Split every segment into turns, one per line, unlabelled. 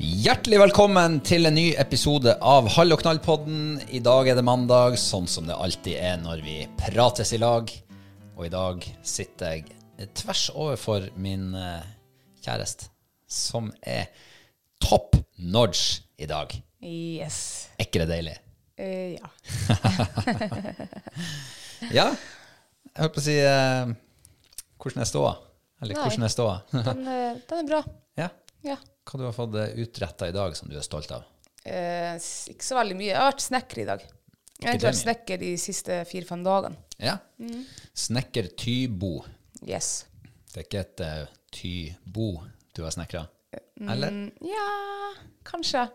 Hjertelig velkommen til en ny episode av Hall og knall-podden. I dag er det mandag, sånn som det alltid er når vi prates i lag. Og i dag sitter jeg tvers overfor min eh, kjæreste, som er top notch i dag.
Yes.
Er ikke det deilig?
Eh, ja.
Ja. Jeg holdt på å si eh, Hvordan er ståa? Eller
Nei.
hvordan er ståa?
Den, eh, den er bra.
ja.
Ja.
Hva du har fått eh, utretta i dag som du er stolt av?
Eh, s- ikke så veldig mye. Jeg har vært snekker i dag. Jeg har egentlig vært snekker de siste fire-fem dagene.
Ja. Snekker Tybo.
Yes.
Det er ikke et uh, tybo du har snekra? Eller?
Mm, ja, kanskje.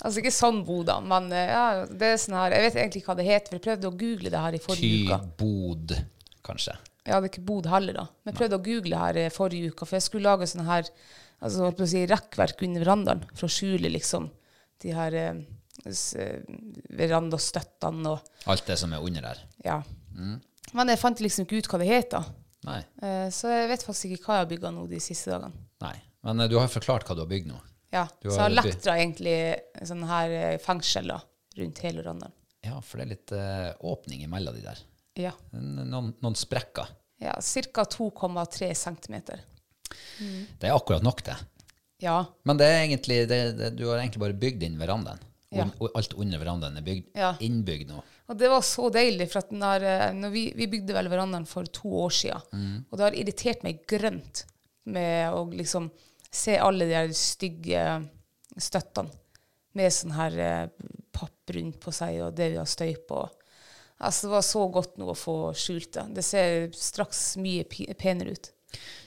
Altså ikke sånn bo, da, men eh, ja, det er sånn her Jeg vet egentlig ikke hva det heter, for jeg prøvde å google det her i forrige uke.
Tybod, kanskje.
Jeg hadde ikke bodd heller da. Men jeg prøvde å google her eh, forrige uke, for jeg skulle lage sånn her altså, holdt på å si, rekkverk under verandaen for å skjule liksom de her eh, s- eh, verandastøttene og
Alt det som er under der.
Ja.
Mm.
Men jeg fant liksom ikke ut hva det het, da.
Nei.
Eh, Så jeg vet faktisk ikke hva jeg har bygga nå de siste dagene.
Nei. Men eh, du har forklart hva du har bygd nå.
Ja,
Du
Så jeg
har
har
by-
lektra egentlig sånn her eh, fengsel da, rundt hele Rondalen.
Ja, for det er litt eh, åpning imellom de der.
Ja.
N- Noen, noen sprekker.
ja Ca. 2,3 cm.
Det er akkurat nok, det.
Ja.
Men det er egentlig, det, det, du har egentlig bare bygd inn verandaen.
Ja.
Og- Og alt under verandaen er bygd,
Ja.
innbygd nå.
Og det var så deilig, for at når, eh, når vi, vi bygde vel verandaen for to år siden, og det har irritert meg grønt med å liksom se alle de her stygge støttene med sånn her eh, papp rundt på seg, og det vi har støy på. Altså, det var så godt nå å få skjult det. Det ser straks mye pi- penere ut.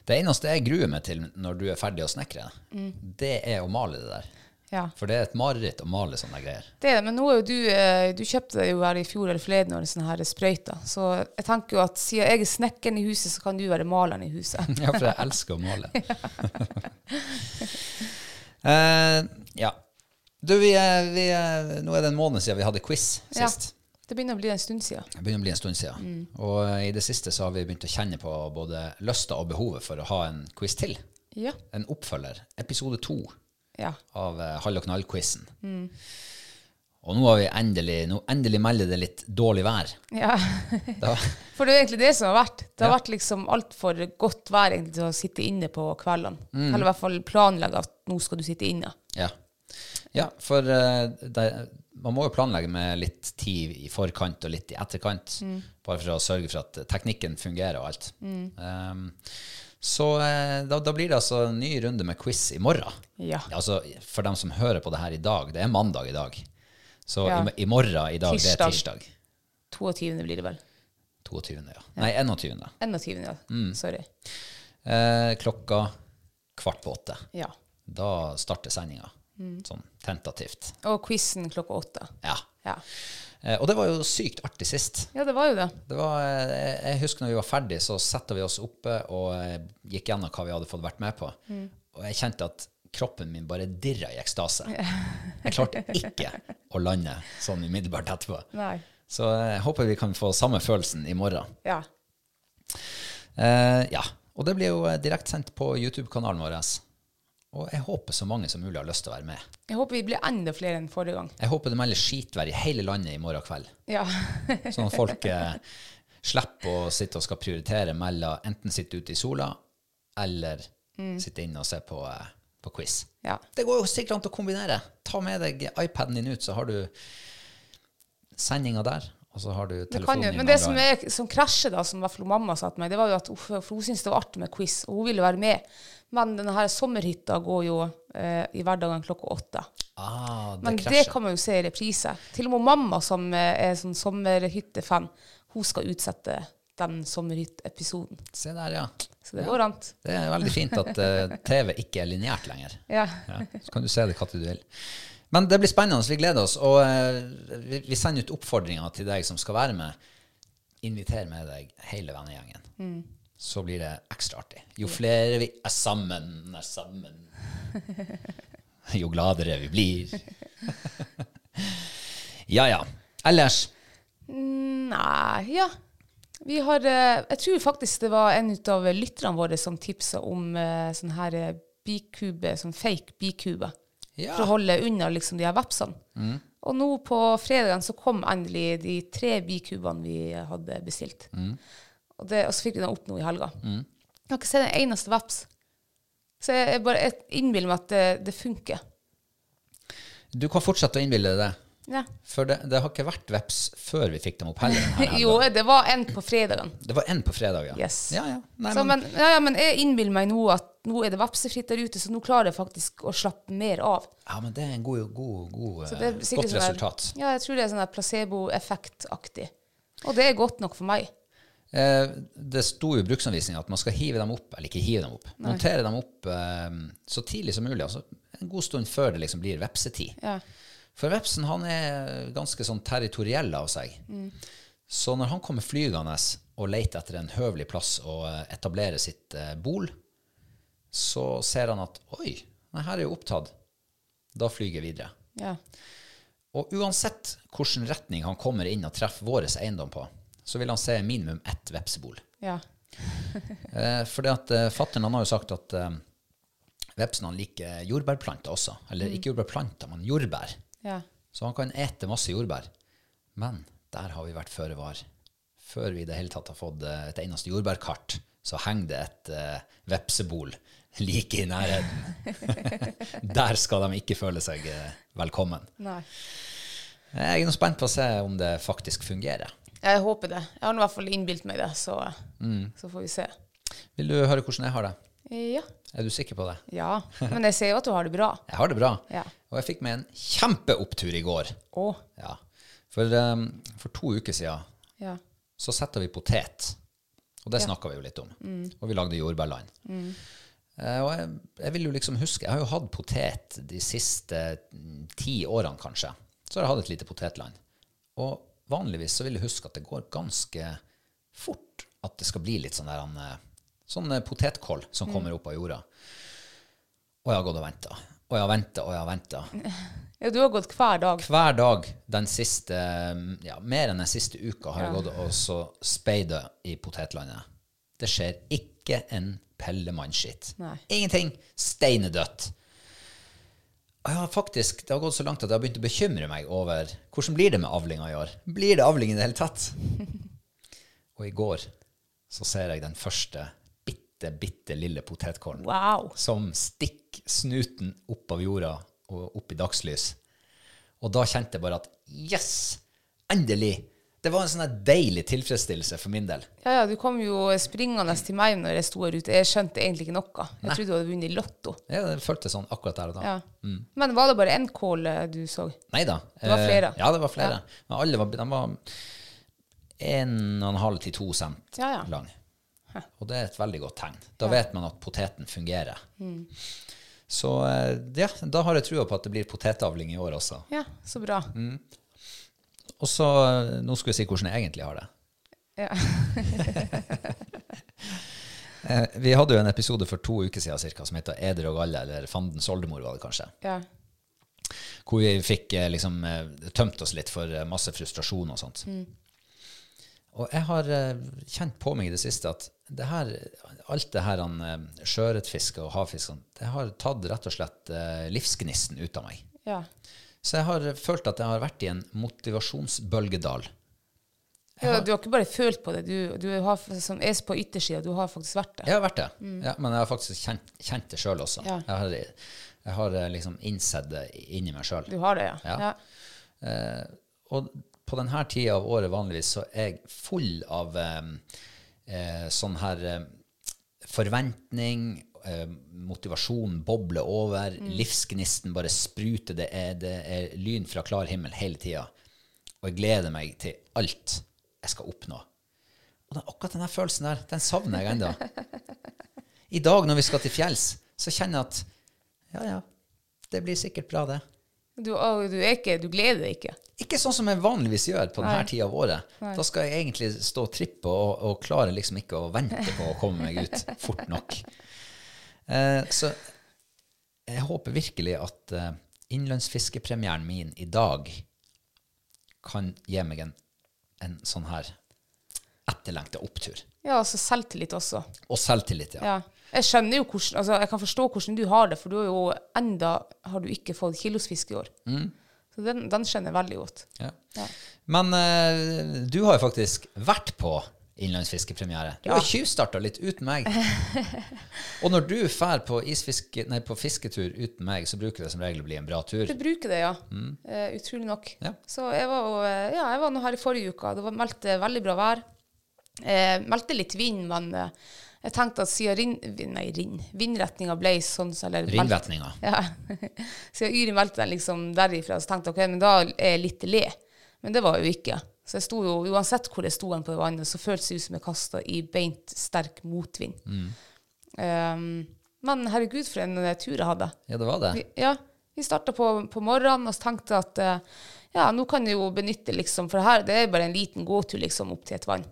Det eneste jeg gruer meg til når du er ferdig å snekre,
Mm.
det er å male det der.
Ja.
For det er et mareritt å male sånne greier.
Det er det, men nå er jo du eh, Du kjøpte deg jo her i fjor eller forleden år sånne her sprøyter. Så jeg tenker jo at siden jeg er snekkeren i huset, så kan du være maleren i huset.
Ja, for jeg elsker å male. Eh, ja. Du, vi, er- vi, er- nå er det en måned siden vi hadde quiz sist.
Ja, det begynner å bli en stund siden.
Det begynner å bli en stund siden. Og eh, i det siste så har vi begynt å kjenne på både lysta og behovet for å ha en quiz til.
Ja.
En oppfølger. Episode to
ja.
av eh, Hall og knall-quizen. Og nå har vi endelig, nå endelig melder det litt dårlig vær.
Ja.
Da,
For det er egentlig det som har vært. Det har vært liksom altfor godt vær egentlig til å sitte inne på kveldene. Eller i hvert fall planlegge at nå skal du sitte inne.
ja. ja, for eh, det, man må jo planlegge med litt tid i forkant og litt i etterkant,
Mm.
bare for å sørge for at teknikken fungerer og alt. Ehm, så eh, da, da blir det altså en ny runde med quiz i morgen.
Ja.
altså, for dem som hører på det her i dag, det er mandag i dag. Så
Ja.
i, i morgen i dag, det
Tirsdag.
er tirsdag.
22. blir det vel.
22. Ja. Nei, 21.
21. Ja.
Mm.
Sorry.
Eh, klokka kvart på åtte.
Ja. Mm.
Da starter sendinga. Sånn tentativt.
Og quizen klokka åtte.
Ja.
Ja.
Eh, og det var jo sykt artig sist.
ja, det var jo det.
Det var, eh, jeg- jeg husker når vi var ferdig, så satte vi oss oppe og eh, gikk gjennom hva vi hadde fått vært med på. Og jeg kjente at kroppen min bare dirra i ekstase. Jeg klarte ikke å lande sånn umiddelbart etterpå.
Nei.
Så eh, jeg håper vi kan få samme følelsen i morgen.
Ja.
Eh, ja. Og det blir jo eh, direktsendt på YouTube-kanalen vår. Og jeg håper så mange som mulig har lyst til å være med.
Jeg håper vi blir enda flere enn forrige gang.
Jeg håper det melder skitvær i hele landet i morgen kveld.
Ja.
Sånn at folk eh, slipper å sitte og skal prioritere mellom enten sitte ute i sola eller
Mm.
sitte inne og se på, eh, på quiz.
ja.
Det går jo sikkert an til å kombinere. Ta med deg iPaden din ut, så har du sendinga der. Og så har du
Det kan
telefonen
jo,
din i
men det
andre
som,
hånden.
er, som krasjer, da, som i hvert fall mamma sa til meg, det var jo at uff, for hun syntes det var artig med quiz, og hun ville være med. Men denne her sommerhytta går jo eh, i hverdagen klokka åtte.
ah, det
Men det,
krasjer.
kan man jo se i reprise. Til og med mamma, som eh, er sånn sommerhyttefan, hun skal utsette den sommerhytteepisoden.
Se der, ja.
Så det går an.
Det er veldig fint at eh, TV ikke er lineært lenger.
Ja.
Ja, så kan du se det når du vil. Men det blir spennende. Vi gleder oss. Og eh, vi, vi sender ut oppfordringer til deg som skal være med. Inviter med deg hele vennegjengen.
Mm.
Så blir det ekstra artig. Jo flere vi er sammen, er sammen, jo gladere vi blir. ja, ja. Ellers
Nei, ja. Vi har eh, Jeg tror faktisk det var en ut av lytterne våre som tipsa om eh, sånn her eh, bikube, sånn fake bikube.
Ja. Mm.
For å holde unna liksom de her vepsene. Og nå på fredagen så kom endelig de tre bikubene vi hadde bestilt.
Mm.
Og, det, og så fikk vi den opp nå i helga. Jeg har ikke sett en eneste veps. Så jeg, jeg bare jeg innbiller meg at det, det funker.
Du kan fortsette å innbille deg det.
Ja.
For det, det har ikke vært veps før vi fikk dem opp heller. denne helgen.
Jo, det var en på fredagen.
Det var en på fredag, ja.
Yes.
Ja, ja. Nei,
så,
men,
men, ja, ja, men jeg innbiller meg nå at nå er det vepsefritt der ute, så nå klarer jeg faktisk å slappe mer av.
ja, men det er en god, god, god
Så
eh,
det er sikkert
godt
sånn der-
resultat.
Ja, jeg tror det er sånn der placeboeffektaktig. Og det er godt nok for meg.
Eh, det sto jo i bruksanvisningen at man skal hive dem opp, eller ikke hive dem opp, montere dem opp eh, så tidlig som mulig, altså en god stund før det liksom blir vepsetid.
Ja.
For vepsen han er ganske sånn territoriell av seg.
Mm.
Så når han kommer flygende og leter etter en høvelig plass å eh, etablere sitt eh, bol, så ser han at oi, nei, her er jo opptatt. Da flyger jeg videre.
Ja.
Og uansett hvilken retning han kommer inn og treffer vår eiendom på, så vil han se minimum ett vepsebol.
ja.
Eh, fordi at eh, fatteren han har jo sagt at eh, vepsen han liker jordbærplanter også. Eller ikke jordbærplanter, men jordbær.
ja.
Så han kan ete masse jordbær. Men der har vi vært føre var. Før vi i det hele tatt har fått eh, et eneste jordbærkart, så henger det et eh, vepsebol like i nærheten. der skal de ikke føle seg eh, velkommen.
Nei.
Jeg er nå spent på å se om det faktisk fungerer.
Jeg håper det. Jeg har nå i hvert fall innbilt meg det, så, så får vi se.
Vil du høre hvordan jeg har det?
Ja.
Er du sikker på det?
ja. Men jeg ser jo at du har det bra.
Jeg har det bra.
Ja.
Og jeg fikk meg en kjempeopptur i går.
Å.
Ja. For, ehm, for to uker siden
Ja.
så setter vi potet. Og det snakka vi jo litt om. Og vi lagde jordbærland. Eh, og jeg, jeg vil jo liksom huske Jeg har jo hatt potet de siste mm, ti årene, kanskje. Så har jeg hatt et lite potetland. Og vanligvis så vil jeg huske at det går ganske fort at det skal bli litt sånn der han, eh, Sånn eh, potetkål som kommer opp av jorda. Og jeg har gått og venta. Og jeg har venta og jeg har venta
ja. Du har gått hver dag.
hver dag den siste ja, mer enn den siste uka har jeg gått og så speidet i potetlandet. Det skjer ikke en pellemannskitt.
Nei.
Ingenting. Steinedødt. Jeg har faktisk, Det har gått så langt at jeg har begynt å bekymre meg over hvordan blir det med avlinga i år. Blir det avling i det hele tatt? Og i går så ser jeg den første bitte, bitte lille potetkornen
Wow.
som stikker snuten opp av jorda og opp i dagslys. Og da kjente jeg bare at yes, endelig! Det var en sånn her deilig tilfredsstillelse for min del.
Ja, ja, du kom jo springende til meg når jeg sto her ute. Jeg skjønte egentlig ikke noe. Jeg trodde du hadde vunnet i Lotto.
Jeg følte sånn akkurat der og da.
Ja. Men var det bare én kål eh, du så?
Nei da.
Det var flere.
eh, Ja, det var flere. Men alle var, de var 1,5 til 2 cent
Ja, ja.
lang. Og det er et veldig godt tegn. Da vet man at poteten fungerer.
Mm.
Så eh, ja, da har jeg trua på at det blir potetavling i år også.
Ja, så bra.
Og så, eh, nå skulle jeg si hvordan jeg egentlig har det.
Ja.
Eh, Vi hadde jo en episode for to uker siden cirka, som heter Eder og galle, eller Fandens oldemor var det kanskje.
ja.
hvor vi fikk eh, liksom eh, tømt oss litt for eh, masse frustrasjon og sånt.
Mm.
Og jeg har eh, kjent på meg i det siste at det her, alt det her han, eh, sjøørretfiske og havfiske, sånn, det har tatt rett og slett eh, livsgnisten ut av meg.
ja.
Så jeg har følt at jeg har vært i en motivasjonsbølgedal.
ja du har ikke bare følt på det. Du, du har, f- som er på yttersida, du har faktisk vært der.
Jeg har vært det, ja, men jeg har faktisk kjent, kjent det sjøl også.
Mm. Ja.
Jeg, har, jeg har eh, liksom innsett det inni meg sjøl.
Du har det, ja.
Ja.
ja.
Og på denne tida av året vanligvis så er jeg full av eh, eh, sånn her eh, forventning, eh, motivasjon bobler over, livsgnisten bare spruter. Det er, det er lyn fra klar himmel hele tida. Og jeg gleder meg til alt jeg skal oppnå. Og den, akkurat den følelsen der, den savner jeg ennå. I dag når vi skal til fjells, så kjenner jeg at ja, ja, det blir sikkert bra, det.
Du, og du, er ikke, du gleder deg ikke.
Ikke sånn som jeg vanligvis gjør på denne tida av året. Da skal jeg egentlig stå og trippe og, og klare liksom ikke å vente på å komme meg ut fort nok. Eh, så jeg håper virkelig at eh, innlandsfiskepremieren min i dag kan gi meg en, en sånn her etterlengta opptur.
Ja, altså selvtillit også.
Og selvtillit, ja.
Ja. Jeg skjønner jo hvordan, altså jeg kan forstå hvordan du har det, for du har jo enda har du ikke fått kilosfisk i år. Så den, den skjønner jeg veldig godt.
Ja.
Ja.
Men eh, du har jo faktisk vært på innlandsfiskepremiere. Du har tjuvstarta litt uten meg. Og når du drar på, isfiske- nei, på fisketur uten meg, så bruker det som regel å bli en bra tur.
Du bruker det, ja. Eh, utrolig nok.
Ja.
Så jeg var, jo, eh, ja, jeg var nå her i forrige uke. Det var, meldte veldig bra vær. Eh, meldte litt vind, men eh, jeg tenkte at siden rin, vin- nei, rin, vindretninga ble sånn så- eller meld-
Ringvetninga.
Ja. Siden Yri meldte den liksom derifra, så tenkte jeg ok, men da er jeg litt i le. Men det var jeg jo ikke. Så jeg sto jo, uansett hvor jeg sto hen på vannet, så føltes det ut som jeg kasta i beint sterk motvind. Ehm, men herregud, for en eh, tur jeg hadde.
Ja, det var det.
Vi- Ja, vi starta på, på morgenen og så tenkte jeg at eh, ja, nå kan jeg jo benytte liksom, for her det er bare en liten gåtur liksom opp til et vann.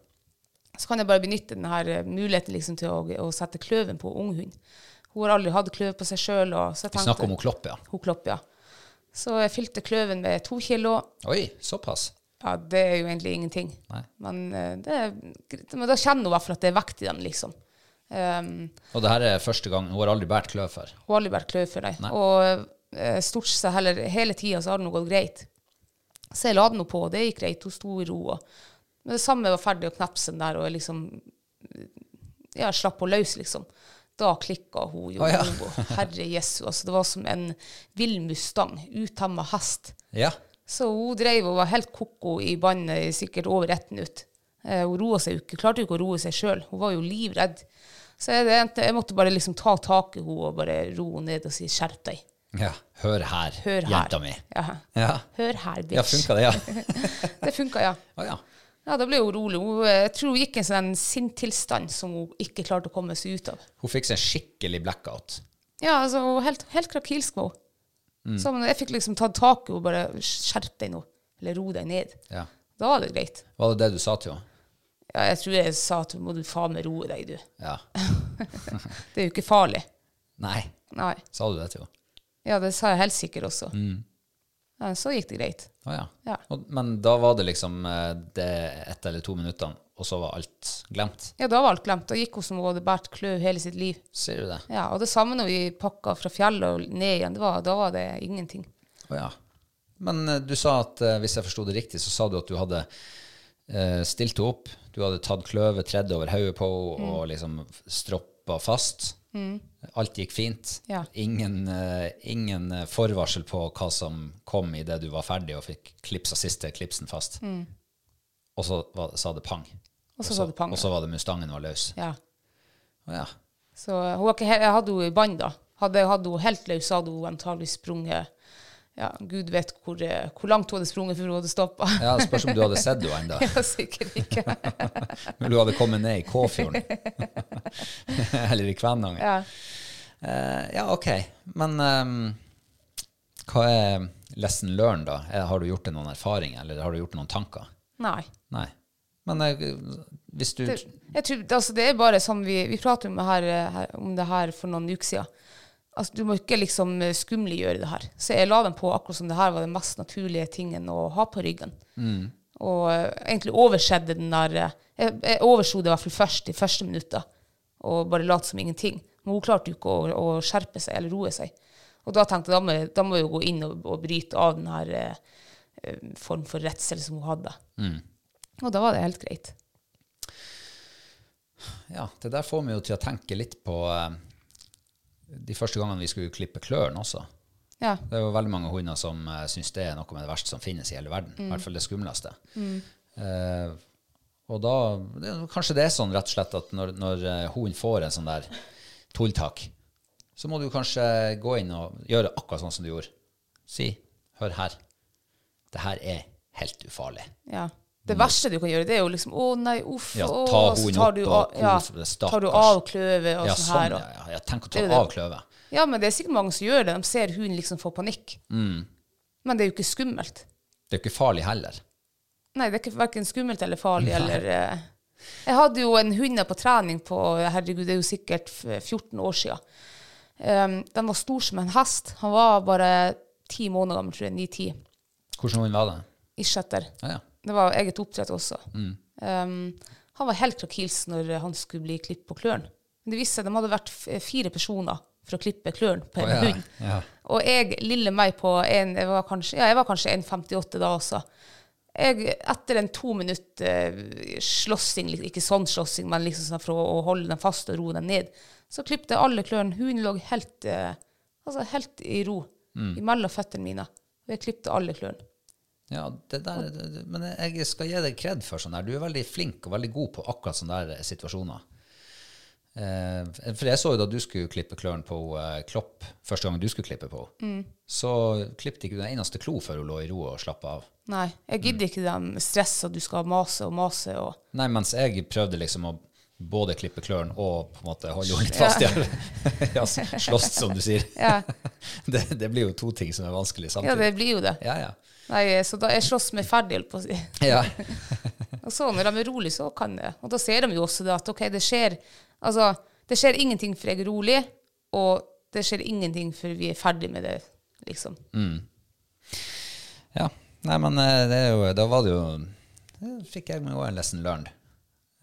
Så kan jeg bare benytte denne muligheten liksom til å, å sette kløven på unghund. Hun har aldri hatt kløv på seg sjøl.
Vi snakker om hun Klopp, ja.
Hun klopp, ja. Så jeg fylte kløven med to kilo.
Oi, såpass.
Ja, det er jo egentlig ingenting.
Nei.
Men, eh, det er, greit. men da kjenner hun i hvert fall at det er vekt i dem, liksom. Um,
Og det her er første gang Hun har aldri båret kløv før.
hun har aldri vært kløv for deg. Og eh, stort sett heller hele tida så har det nå gått greit. Så jeg la den nå på, og det gikk greit. Hun sto i ro. Og, men det samme var ferdig å knepse den der, og jeg liksom Ja, jeg slapp henne løs, liksom. Da klikka hun jo.
Å, ja.
Og Herre Jesu, altså. Det var som en vill mustang. Utemma hest.
Ja.
Så hun drev og var helt koko i vannet i sikkert over ett minutt. Eh, hun roa seg jo ikke, klarte jo ikke å roe seg sjøl. Hun var jo livredd. Så jeg, det endte- jeg måtte bare liksom ta tak i henne og bare ro henne ned og si 'skjerp deg'.
ja. Hør her,
Hør her.
jenta mi.
Ja.
Ja,
Hør her, bitch.
ja funka det, ja?
Det funka, ja.
Å ja.
Ja, Da ble hun rolig. Hun, eh, jeg tror hun gikk i en sånn sinnstilstand som hun ikke klarte å komme seg ut av.
Hun fikk seg en skikkelig blackout.
Ja, altså, hun var helt, helt krakilsk var hun.
Mm.
Så men jeg fikk liksom tatt tak i henne og bare 'skjerp deg nå', eller 'ro deg ned'.
Ja.
Da var det greit.
Var det det du sa til henne?
Ja, jeg tror jeg sa at 'må du faen meg roe deg, du'.
Ja.
Det er jo ikke farlig.
Nei.
Nei.
Sa du det til henne?
Ja, det sa jeg helt sikkert også. Eh, Så gikk det greit.
Å ja.
Ja.
Og, men da var det liksom eh, det ett eller to minuttene, og så var alt glemt.
Ja, da var alt glemt. Da gikk hun som hun hadde båret klø hele sitt liv.
Ser du det?
Ja, og det samme når vi pakka fra fjellet og ned igjen. Det var, da var det ingenting.
Å ja. Men eh, du sa at, eh, hvis jeg forsto det riktig, så sa du at du hadde eh, stilt henne opp, du hadde tatt kløvet, tredd over hodet på henne
Mm.
og liksom stroppa fast. Alt gikk fint.
Ja.
Ingen, eh, ingen eh, forvarsel på hva som kom idet du var ferdig og fikk klipsa siste klipsen fast. Og så var, sa det pang.
Mm. Og så sa det pang.
Og så var det mustangen var løs.
Ja.
Å ja.
Så eh, hun var ikke he- jeg hadde henne i bånd, da. Hadde, hadde hun helt løs, hadde hun antagelig sprunget Ja, gud vet hvor, eh, hvor langt hun hadde sprunget før hun hadde stoppa.
ja. det Spørs om du hadde sett henne ennå.
Ja, sikkert ikke.
Når du hadde kommet ned i Kåfjorden. Eller i Kvænangen.
Ja.
Eh, ja, ok. Men ehm, hva er lesson learned, da? Eh, Har du gjort deg noen erfaringer, eller har du gjort deg noen tanker?
Nei.
Nei. Men eh, hvis du
Det, jeg tror, altså det er bare sånn vi, vi prater om det, her, eh, her, om det her for noen uker siden. Altså, du må ikke liksom eh, skumliggjøre det her. Så jeg la dem på akkurat som det her var den mest naturlige tingen å ha på ryggen. Og eh, egentlig overskjedde den der eh, Jeg, jeg overslo det i hvert fall først de første minutta, og bare lot som ingenting. Men hun klarte jo ikke å, å skjerpe seg eller roe seg. Og da tenkte jeg da må, jeg- da må jeg jo gå inn og, og bryte av den her eh, eh, form for redsel som hun hadde. Og da var det helt greit.
Ja, det der får meg jo til å tenke litt på eh, de første gangene vi skulle klippe klørne også.
Ja.
Det er jo veldig mange hunder som uh, syns det er noe med det verste som finnes i hele verden.
Mm.
I hvert fall det skumleste. Eh, og da det, er jo- Kanskje det er sånn rett og slett at når, når eh, hunden får en sånn der tulltak, så må du kanskje gå inn og gjøre akkurat sånn som du gjorde. Si 'hør her, det her er helt ufarlig'.
Ja. Det verste du kan gjøre, det er jo liksom Å nei, uff.
Ja,
å»,
ta
og så
hunden
tar
opp
du
og
av- ja,
kos- stakkars.
Tar du av kløvet og
Ja,
sånn
sånn,
her.
ja,
Og,
ja. ja. Tenk å ta
Det er jo
av
det.
kløvet.
ja, men det er sikkert mange som gjør det. De ser hunden liksom få panikk.
Mm.
Men det er jo ikke skummelt.
Det er jo ikke farlig heller.
Nei, det er ikke verken skummelt eller farlig eller eh. Jeg hadde jo en hund på trening på Herregud, det er jo sikkert f- 14 år siden. Em, den var stor som en hest. Han var bare ti måneder gammel, tror jeg. Ni-ti.
Hvordan hund var det?
Ish etter.
Ja, ja.
Det var eget oppdrett også.
Mm.
Um, han var helt krakils når han skulle bli klippet på klørne. Men det viste seg at de hadde vært f- eh, fire personer for å klippe klørne på en
Å, ja,
hund.
ja.
Og jeg, lille meg på en, jeg var kanskje, ja, jeg var kanskje 1,58 da også. Jeg, etter en to minutt eh, slåssing, lik- ikke sånn slåssing, men liksom sånn for å, å holde den fast og roe den ned, så klippte jeg alle klørne. Hunden lå helt, eh, altså helt i ro
Mm.
imellom føttene mine. Og jeg klippte alle klørne.
Ja, det der, det- det- men jeg skal gi deg kred for sånn der. Du er veldig flink og veldig god på akkurat sånne der eh, situasjoner. Eh, for jeg så jo da du skulle klippe klørne på eh, Klopp, første gang du skulle klippe på
Mm.
henne, så klippte ikke du den eneste klo før hun lå i ro og slapp av.
Nei, jeg gidder ikke dem stress at du skal mase og mase og
Nei, mens jeg prøvde liksom å både klippe klørne og på en måte holde henne litt fast i her. ja, slåss, som du sier.
Ja.
det, det blir jo to ting som er vanskelig
Ja,
samtidig.
det blir jo det.
Ja, ja.
Nei, så da jeg slåss meg ferdig, holdt på å si.
ja.
Og så når de er rolig, så kan det. Og da ser de jo også det at OK, det skjer Altså, det skjer ingenting for jeg er rolig, og det skjer ingenting før vi er ferdig med det, liksom.
Ja. Nei, men eh, det er jo, da var det jo Da fikk jeg meg òg en lesson learned.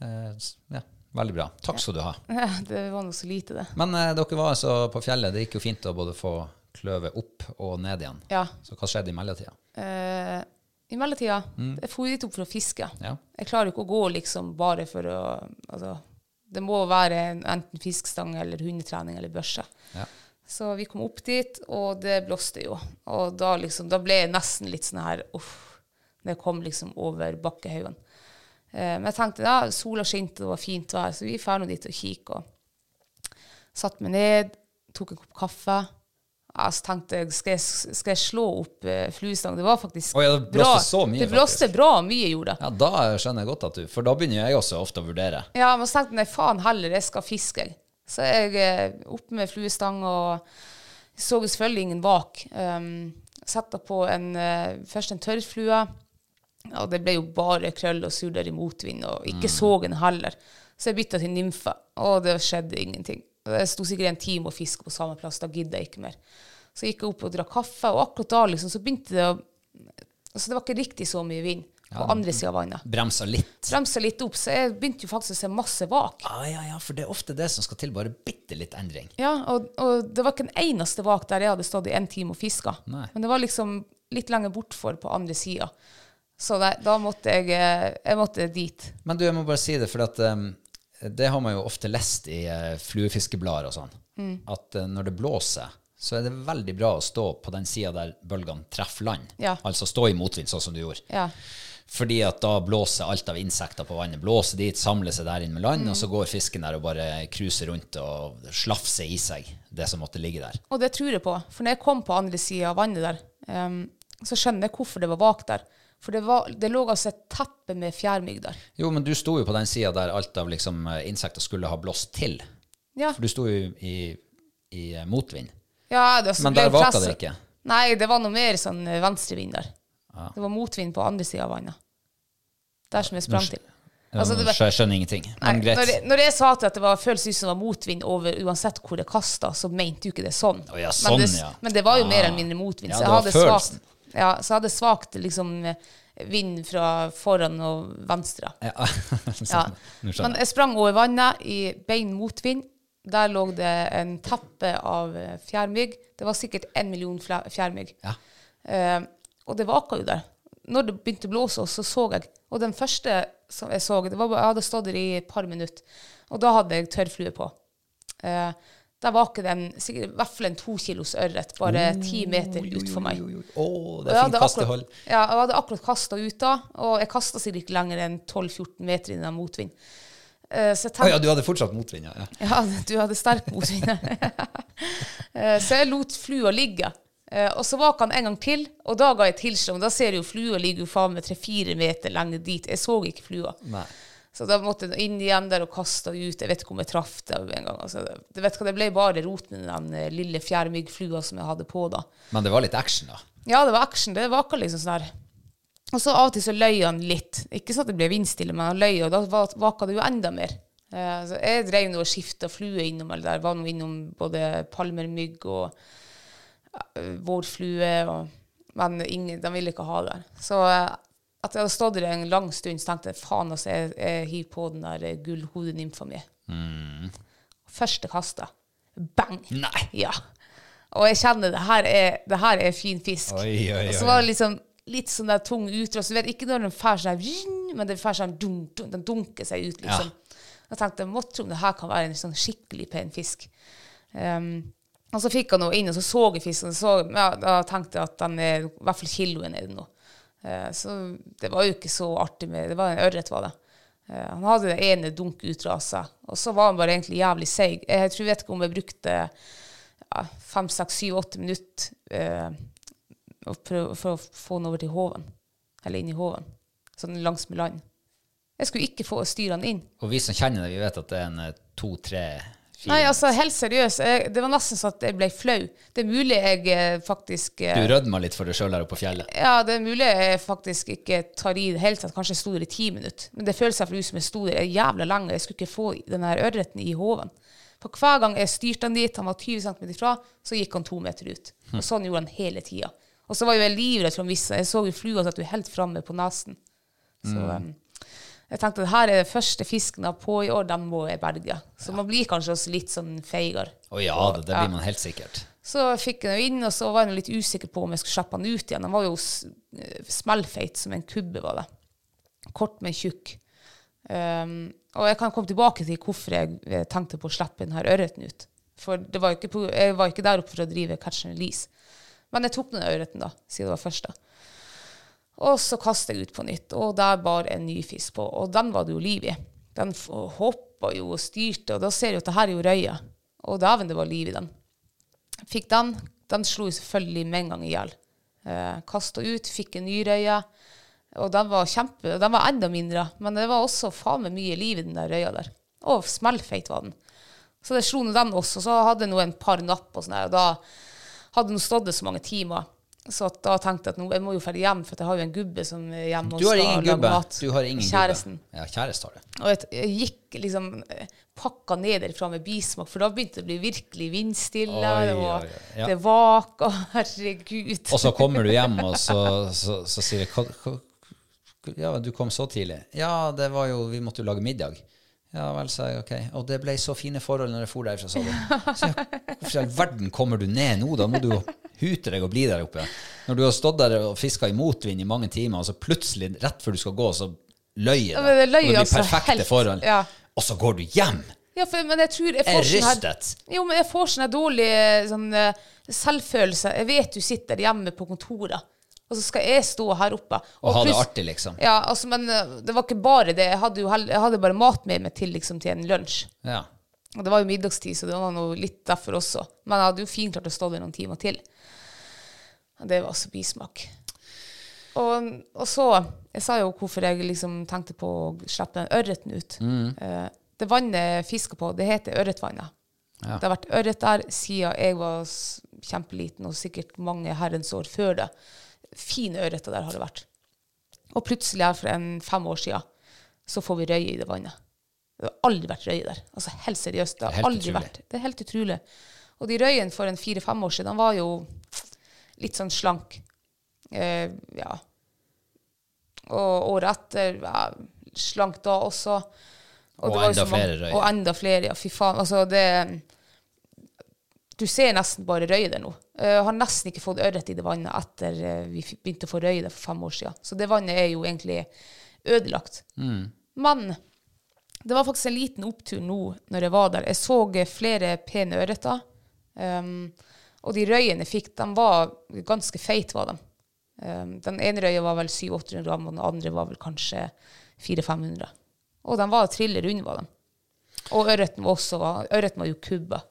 Eh, s- Ja, veldig bra. Takk skal du ha.
Ja, det var nå så lite, det.
Men eh, dere var altså på fjellet. Det gikk jo fint å både få kløvet opp og ned igjen.
Ja.
Så hva skjedde i mellomtida?
Eh, I mellomtida Jeg dro dit opp for å fiske.
Ja.
Jeg klarer jo ikke å gå liksom bare for å Altså, det må være en, enten fiskestang eller hundetrening eller børse.
Ja.
Så vi kom opp dit, og det blåste jo. Og da liksom Da ble jeg nesten litt sånn her uff, når jeg kom liksom over bakkehaugen. Eh, men jeg tenkte ja, sola skinte, det var fint vær, så vi drar nå dit og kikker. og Satt meg ned, tok en kopp kaffe. Ja, så tenkte jeg, skal jeg, skal jeg slå opp eh, fluestang? Det var faktisk
Å ja, det blåste så mye,
Det blåste bra mye, gjorde det.
ja, da skjønner jeg godt at du For da begynner jeg også ofte å vurdere.
Ja, men så tenkte jeg, nei, faen heller, jeg skal fiske, jeg. Så jeg eh, opp med fluestang og så selvfølgelig ingen bak. Um, Sette på en, eh, først en tørrflue, og det ble jo bare krøll og surder i motvind, og ikke så en heller. Så jeg bytta til nymfe, og det skjedde ingenting. Jeg sto sikkert en time og fiske på samme plass, da gidder jeg ikke mer. Så gikk jeg opp og drakk kaffe, og akkurat da liksom, så begynte det å Altså, det var ikke riktig så mye vind på andre sida av vannet.
Bremsa litt.
Bremsa litt opp, så jeg begynte jo faktisk å se masse vak.
Ja, ja, ja, for det er ofte det som skal til, bare bitte litt endring.
Ja, og, og det var ikke en eneste vak der jeg hadde stått i en time og fiska.
Nei.
Men det var liksom litt lenger bortfor på andre sida. Så nei, da måtte jeg, eh, jeg måtte dit.
Men du, jeg må bare si det, for at, um, det har man jo ofte lest i eh, fluefiskeblader og sånn,
Mm.
at eh, når det blåser, så er det veldig bra å stå på den sida der bølgene treffer land.
Ja.
Altså stå i motvind, sånn som du gjorde.
Ja.
Fordi at da blåser alt av insekter på vannet. Blåser dit, samler seg der inn med land, og
Mm.
så går fisken der og bare cruiser rundt og slafser i seg det som måtte ligge der.
Og det tror jeg på. For når jeg kom på andre sida av vannet der, em, så skjønner jeg hvorfor det var vak der. For det, var, det lå altså et teppe med fjærmygg der.
Jo, men du sto jo på den sida der alt av liksom, eh, insekter skulle ha blåst til.
Ja,
For du sto jo i, i eh, motvind.
ja det, så
Men
ble
der
jeg
vaka
presset.
det ikke.
Nei, det var noe mer sånn eh, venstrevind der. Det var motvind på andre sida av vannet. Der som jeg sprang til. Altså, det var-
Um, Så jeg skjønner ingenting.
Nei,
Men
når, jeg,
greit.
når jeg sa til at det var føles ut som det var motvind over uansett hvor det kasta, så mente jo ikke det sånn.
Å ja,
men, det,
sånn, ja.
men det var jo mer eller mindre motvind.
Ja,
så,
det
jeg
var
hadde
følelsen.
svakt, ja, så jeg hadde svakt liksom, eh, vind fra foran og venstre.
Ja, sånn.
Ja.
Nå
Men
skjønner jeg.
jeg sprang over vannet i bein motvind. Der lå det en teppe av eh, fjærmygg. Det var sikkert én million fla- fjærmygg.
Ja.
Eh, og det vaka jo der. Når det begynte å blåse, så så jeg. Og den første som jeg så, det var, bare- jeg hadde stått der i et par minutter, og da hadde jeg tørrflue på. Eh, der vaker det en, sikkert i hvert fall en to kilos ørret, bare ti meter utfor meg.
Å, det
Og
er
jeg
fint
hadde
kastehold.
akkurat- Ja, og jeg hadde akkurat kasta ut da, og jeg kasta sikkert ikke lenger enn 12-14 meter innan motvind. Eh, så jeg
Å
tenkte
ja, du hadde fortsatt motvind, ja. ja.
ja, du hadde sterk motvind. Eh, så jeg lot flua ligge. Eh, Og så vaka han en gang til, og da ga jeg tilslag. Men Da ser du jo flua ligger jo faen meg tre-fire meter lenger dit. Jeg så ikke flua.
Nei.
Så da måtte jeg inn igjen der og kaste ut. Jeg vet ikke om jeg traff det en gang. Altså, det- du vet hva, det ble bare rot med den eh, lille fjærmyggflua som jeg hadde på da.
Men det var litt action, da.
Ja, det var action. Det vaka liksom sånn her. Og så av og til så løy han litt. Ikke sånn at det ble vindstille, men han løy, og da va- vaka det jo enda mer. Eh, Så jeg drev nå og skifta flue innom alle der. Var nå innom både palmermygg og eh, vårflue. Og, men ingen, de ville ikke ha det. Så eh, at jeg hadde stått der en lang stund, så tenkte jeg faen, altså, jeg, jeg hiver på den der eh, gullhodenymfa mi. Første kastet. Bang!
Nei.
Ja. Og jeg kjenner det her er, det her er fin fisk.
Oi, oi,
Og så
oi.
var det liksom litt sånn der tung utrast. Du vet ikke når den fær sånn, her, vrinn, men den fær sånn dunk, dunk, den dunker seg ut, liksom. Jeg tenkte jeg må tro om det her kan være en sånn skikkelig pen fisk. Ehm, og så fikk han noe inn, og så så jeg fisken. og Så, ja, da tenkte jeg at den er i hvert fall kiloen er det nå. Eh, så det var jo ikke så artig med Det var en ørret, var det. Eh, han hadde det ene dunk ut av seg, og så var han bare egentlig jævlig seig. Jeg tror jeg vet ikke om jeg brukte ja, fem, seks, syv, åtte minutter eh, å prøve- for å få den over til håven. Eller inn i håven. Sånn langs med land. Jeg skulle ikke få styre han inn.
Og vi som kjenner det, vi vet at det er en eh, to, tre, fire
Nei, altså, helt seriøst. Jeg, det var nesten sånn at jeg ble flau. Det er mulig jeg eh, faktisk eh,
Du rødma litt for deg sjøl her oppe på fjellet.
Ja, det er mulig jeg faktisk ikke tar i det hele tatt. Kanskje jeg sto der i ti minutter. Men det føles iallfall ut som jeg sto der jævla lenge. Jeg skulle ikke få den her ørreten i hoven. For hver gang jeg styrte han dit, han var 20 cm ifra, så gikk han to meter ut. Og sånn gjorde han hele tida. Og så var jo jeg livredd for han visste. Jeg så jo flua satt jo helt framme på nesen. Så um, jeg tenkte at her er den første fisken jeg har på i år, den må jeg berge. Så man blir kanskje også litt sånn feigere.
Å ja, det, det blir man helt sikkert.
Så fikk jeg den inn, og så var jeg nå litt usikker på om jeg skulle slippe den ut igjen. Den var jo s- eh, smellfeit som en kubbe, var det. Kort, men tjukk. Um, og jeg kan komme tilbake til hvorfor jeg eh, tenkte på å slippe den her ørreten ut. For det var jo ikke på, jeg var ikke der oppe for å drive catch and release. Men jeg tok den ørreten, da, siden det var første. Og så kastet jeg ut på nytt, og der bar en ny fisk på. Og den var det jo liv i. Den f- hoppa jo og styrte, og da ser du at det her er jo røye. Og dæven, det var liv i den. Fikk den. Den slo jo selvfølgelig med en gang i hjel. Eh, Kasta ut, fikk en ny røye. Og den var kjempe, den var enda mindre, men det var også faen meg mye liv i den der røya der. Og smellfeit var den. Så det slo nå den også. Så hadde jeg nå en par napp og sånn her, og da hadde hun stått det så mange timer. Så at da tenkte jeg at nå, jeg må jo dra hjem, for at jeg har jo en gubbe som er hjemme og
Du har
skal
ingen
lage
gubbe.
mat.
Du har ingen
Kjæresten.
Gubbe. Ja, kjæreste har du.
Og jeg, jeg gikk liksom eh, pakka nederfra med bismak, for da begynte det å bli virkelig vindstille,
Oi,
og
oi, oi. Ja.
det vak, og herregud.
Og så kommer du hjem, og så, så, så sier jeg hva, hva, Ja, du kom så tidlig. Ja, det var jo Vi måtte jo lage middag. Ja vel, sa jeg. Ok. Og det ble så fine forhold når jeg for derfra, sa du. Så jeg, hvorfor i all verden kommer du ned nå? Da må du jo hute deg og bli der oppe. Når du har stått der og fiska i motvind i mange timer, og så plutselig, rett før du skal gå, så løy jeg.
Ja, men det løy
og det blir
altså
perfekte
helt,
forhold.
ja.
Og så går du hjem!
Ja, for, men jeg tror jeg
Jeg
får
er
sånn her,
rystet.
jo, men jeg får sånn her dårlig eh, sånn, eh, selvfølelse. Jeg vet du sitter hjemme på kontoret, og så skal jeg stå her oppe.
Og ha det
pluss-
artig, liksom.
Ja, altså, men eh, det var ikke bare det. Jeg hadde, jo hell, jeg hadde bare mat med meg til, liksom, til en lunsj.
Ja.
Og det var jo middagstid, så det var noe litt derfor også. Men jeg hadde jo fint klart å stå der noen timer til. Og det var altså bismak. Og, og så Jeg sa jo hvorfor jeg liksom tenkte på å slippe den ørreten ut.
Mm.
Eh, det vannet jeg fisker på, det heter ørretvannet. Det har vært ørret der siden jeg var s- kjempeliten, og sikkert mange herrens år før det. Fine ørreter der har det vært. Og plutselig her for en fem år siden, så får vi røye i det vannet. Det har aldri vært røye der. Altså helt seriøst. Det
Det er
har
helt
aldri
utrolig.
vært. Det er helt utrolig. Og de røyene for en fire-fem år siden, de var jo litt sånn slank. Eh, ja. Og året etter ja, slank da også.
Og
det var jo
enda
så mange-
flere røyer.
Og enda flere, ja. Fy faen. Altså, det Du ser nesten bare røye der nå. Eh, har nesten ikke fått ørret i det vannet etter eh, vi f- begynte å få røye der for fem år siden. Så det vannet er jo egentlig ødelagt.
Mm.
Men det var faktisk en liten opptur nå når jeg var der. Jeg så eh, flere pene ørreter. Um, og de røyene jeg fikk, de var ganske feite, var de. Um, den ene røya var vel 700-800 gram, og den andre var vel kanskje 400-500. Og de var trille runde, var de. Og ørreten var også Ørreten var jo kubba.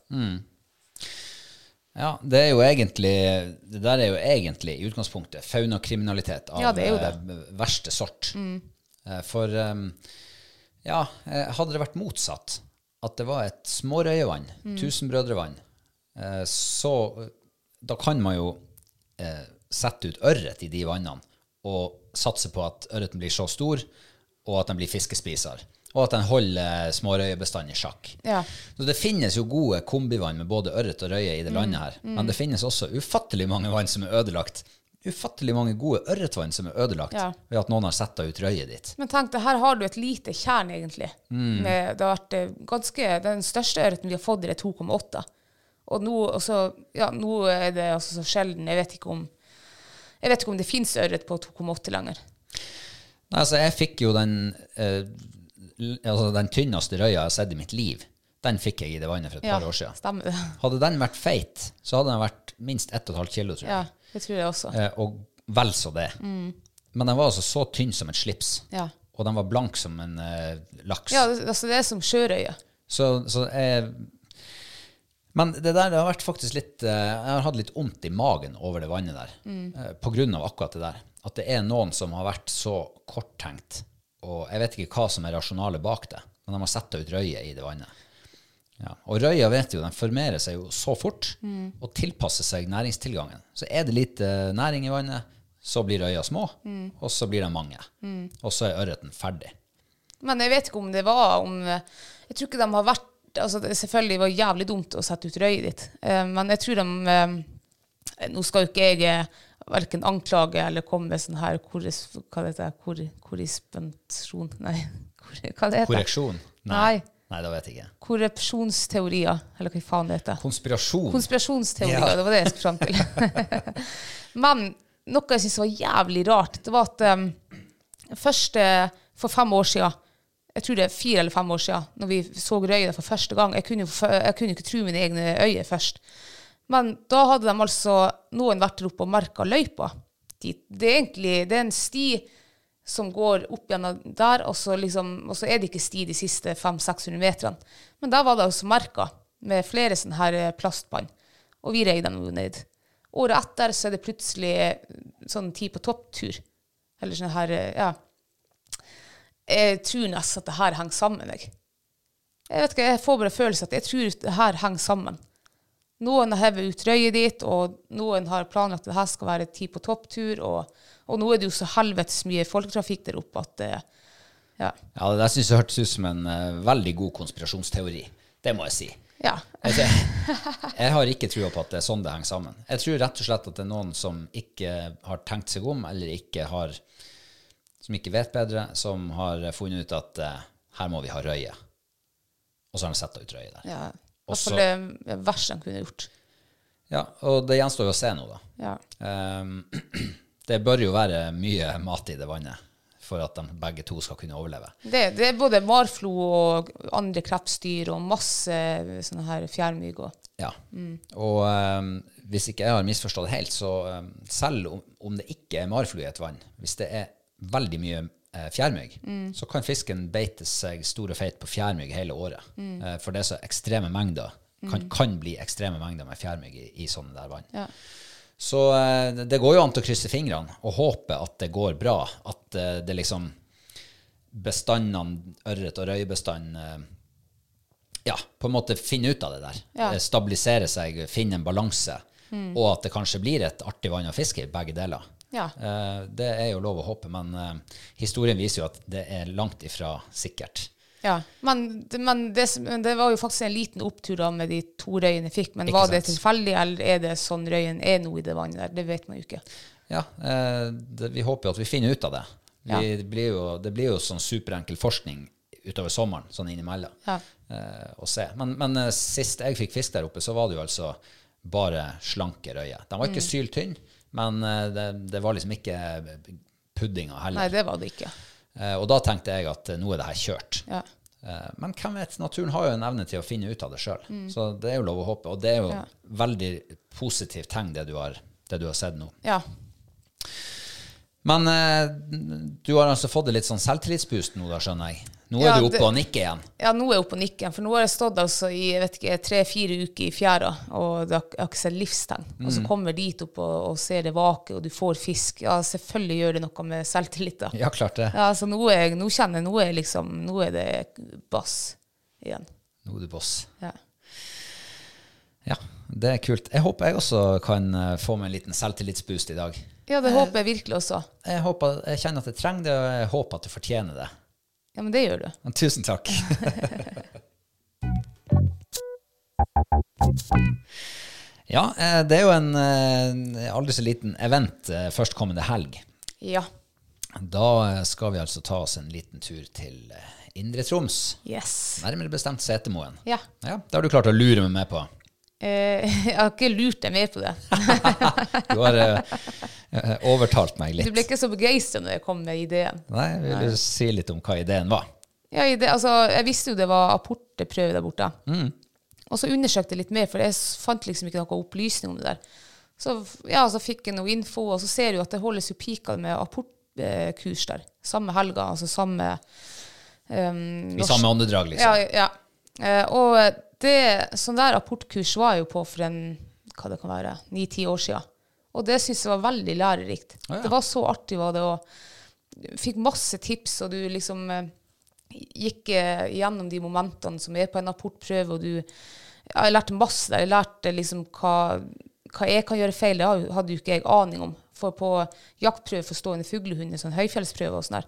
Ja, det er jo egentlig Det der er jo egentlig i utgangspunktet faunakriminalitet av
Ja, det Mm. er jo
eh, verste sort. Eh, For eh, ja, eh, hadde det vært motsatt, at det var et smårøyevann,
Mm.
tusenbrødrevann, eh, så eh, da kan man jo eh, sette ut ørret i de vannene og satse på at ørreten blir så stor, og at den blir fiskespiser, og at den holder smårøyebestanden i sjakk.
Ja.
Så det finnes jo gode kombivann med både ørret og røye i
Mm.
det landet her, men det finnes også ufattelig mange vann som er ødelagt. Ufattelig mange gode ørretvann som er ødelagt
Ja.
ved at noen har setta ut røyet ditt.
Men tenk det, her har du et lite tjern, egentlig.
Mm.
Med, det har vært eh, ganske, den største ørreten vi har fått, det er 2,8. Og nå, og så- ja, nå er det altså så sjelden. Jeg vet ikke om, jeg vet ikke om det fins ørret på 2,8 lenger.
Nei, altså jeg fikk jo den, eh, l- altså den tynneste røya jeg har sett i mitt liv. Den fikk jeg i det vannet for et
Ja,
par år siden.
Stemmer det.
Hadde den vært feit, så hadde den vært minst 1,5 kilo, tror
Ja,
jeg.
det tror jeg også.
Eh, og vel så det. Men den var altså så tynn som et slips.
Ja.
Og den var blank som en eh, laks.
Ja, det- altså det er som sjørøye.
Så, så jeg Men det der det har vært faktisk litt eh, Jeg har hatt litt vondt i magen over det vannet der. eh, På grunn av akkurat det der. At det er noen som har vært så korttenkt, og jeg vet ikke hva som er rasjonalet bak det, men de har satt ut røye i det vannet. Ja. Og røya vet jo, den formerer seg jo så fort og tilpasser seg næringstilgangen. Så er det lite næring i vannet, så blir røya små, og så blir de mange. Og så er ørreten ferdig.
Men jeg vet ikke om det var om Jeg tror ikke de har vært altså det Selvfølgelig var det jævlig dumt å sette ut røyet ditt, eh, men jeg tror de eh, Nå skal jo ikke jeg eh, verken anklage eller komme med sånn her korris, Hva det heter kor, Korrispensjon Nei, kor, hva det heter
Korreksjon?
Nei.
Nei, da vet jeg ikke.
Korrupsjonsteorier, eller hva faen det heter.
Konspirasjon.
Konspirasjonsteorier,
Ja.
det var det jeg skulle fram til. Men noe jeg syntes var jævlig rart, det var at um, først eh, for fem år siden, jeg tror det er fire eller fem år siden, når vi så røya for første gang, jeg kunne, jo f- jeg kunne jo ikke tro mine egne øyne først. Men da hadde de altså noen vært der oppe og merka løypa. dit. Det er egentlig det er en sti som går opp gjennom der, og så, liksom, og så er det ikke sti de siste 500-600 meterne. Men der var det altså merka med flere sånne her eh, plastbånd, og vi rei dem jo ned. Året etter så er det plutselig eh, sånn tid på topptur. Eller sånn her eh, Ja. Jeg tror nesten at det her henger sammen, jeg. Jeg vet ikke, jeg får bare følelsen at jeg tror det her henger sammen. Noen har hevet ut røyet ditt, og noen har planlagt at det her skal være ti på topp-tur. Og, og nå er det jo så helvetes mye folketrafikk der oppe at eh, ja.
Ja, det der synes jeg hørtes ut som en eh, veldig god konspirasjonsteori. Det må jeg si.
ja.
Altså, jeg har ikke trua på at det er sånn det henger sammen. Jeg tror rett og slett at det er noen som ikke har tenkt seg om, eller ikke har Som ikke vet bedre, som har funnet ut at eh, her må vi ha røye. Og så har de satt ut røye der.
ja. I hvert
Også-
fall det verste de kunne gjort.
Ja, og det gjenstår jo å se nå, da.
Ja.
Ehm, det bør jo være mye mat i det vannet for at de begge to skal kunne overleve.
Det, det er både marflo og andre krepsdyr og masse sånne her fjærmygg og
Ja.
Mm.
Og ehm, hvis ikke jeg har misforstått det helt, så ehm, selv om, om det ikke er marflue i et vann, hvis det er veldig mye eh, fjærmygg,
Mm.
så kan fisken beite seg stor og feit på fjærmygg hele året.
Mm.
Eh, for det er så ekstreme mengder. Kan, kan bli ekstreme mengder med fjærmygg i, i sånne der vann.
Ja.
Så eh, det- det går jo an til å krysse fingrene og håpe at det går bra. At eh, det liksom bestandene, ørret og røyebestand eh, ja, på en måte finne ut av det der.
Ja.
Eh, Stabilisere seg, finne en balanse. Og at det kanskje blir et artig vann å fiske i begge deler.
Mm. Ja.
Eh, det er jo lov å håpe, men eh, historien viser jo at det er langt ifra sikkert.
Ja, men, det- men det, som- men det var jo faktisk en liten opptur da med de to røyene jeg fikk. Men
Ikke
var det
sant.
tilfeldig, eller er det sånn røyen er nå i det vannet der? Det vet man jo ikke.
Ja, eh, det, vi håper jo at vi finner ut av det. Vi,
Ja.
det, blir jo, det blir jo sånn superenkel forskning utover sommeren, sånn innimellom,
Ja.
eh, å se. Men, men eh, sist jeg fikk fisk der oppe, så var det jo altså bare slanke røye. Den var ikke
Mm.
syltynn, men eh, det, det var liksom ikke puddinga
Nei,
heller.
det var det ikke.
Eh, og da tenkte jeg at eh, nå er det her kjørt.
Ja.
Eh, Men hvem vet, naturen har jo en evne til å finne ut av det sjøl.
Mm.
Så det er jo lov å håpe. Og det er jo veldig positivt tegn, det du har, det du har sett nå.
ja.
Men eh, du har altså fått et litt sånn selvtillitsboost nå, da, skjønner jeg. Nå er
Ja,
du
det-
oppe og nikker igjen.
Ja, nå er jeg oppe på nikken, for nå har jeg stått altså i jeg vet ikke, tre-fire uker i fjæra, og det har, jeg har ikke sett livstegn. Og
Mm.
så kommer jeg dit opp og, og ser det vake, og du får fisk. Ja, selvfølgelig gjør det noe med selvtillit, da.
Ja, klart det.
Ja, så nå, er jeg, nå kjenner jeg, nå er jeg liksom, nå er det bass igjen.
Nå er du boss.
Ja.
Ja, det er kult. Jeg håper jeg også kan eh, få meg en liten selvtillitsboost i dag.
Ja, det håper jeg virkelig også.
Jeg, håper, jeg kjenner at jeg trenger det, og jeg håper at du fortjener det.
Ja, men det gjør du.
Men tusen takk. ja, eh, det er jo en eh, aldri så liten event eh, førstkommende helg.
Ja.
Da eh, skal vi altså ta oss en liten tur til eh, Indre Troms.
Yes.
Nærmere bestemt Setermoen.
Ja.
Ja, det har du klart å lure meg med på.
Eh, jeg har ikke lurt deg mer på det.
Du har eh, eh, overtalt meg
Du
litt.
ble ikke så begeistra når jeg kom med ideen.
Nei, vil du si litt om hva ideen var?
Ja, i det, altså, jeg visste jo det var apporteprøve der borte. Og så undersøkte jeg litt mer, for jeg s- fant liksom ikke noe opplysning om det der. Så, f- ja, så fikk jeg noe info, og så ser jeg jo at det holdes jo pika med apportkurs der. Samme helga, altså samme um,
I samme åndedrag, liksom.
Ja, ja. Eh, og det, sånn der apportkurs var jeg jo på for en, hva det kan være, ni-ti år siden. Og det synes jeg var veldig lærerikt.
Ah, ja.
Det var så artig, var det, og fikk masse tips, og du liksom eh, gikk eh, gjennom de momentene som er på en apportprøve, og du ja, jeg lærte masse der. Jeg lærte liksom hva, hva jeg kan gjøre feil, det har jo- hadde jo ikke jeg aning om. For på jaktprøve for stående fuglehunder, sånn høyfjellsprøve og sånn der,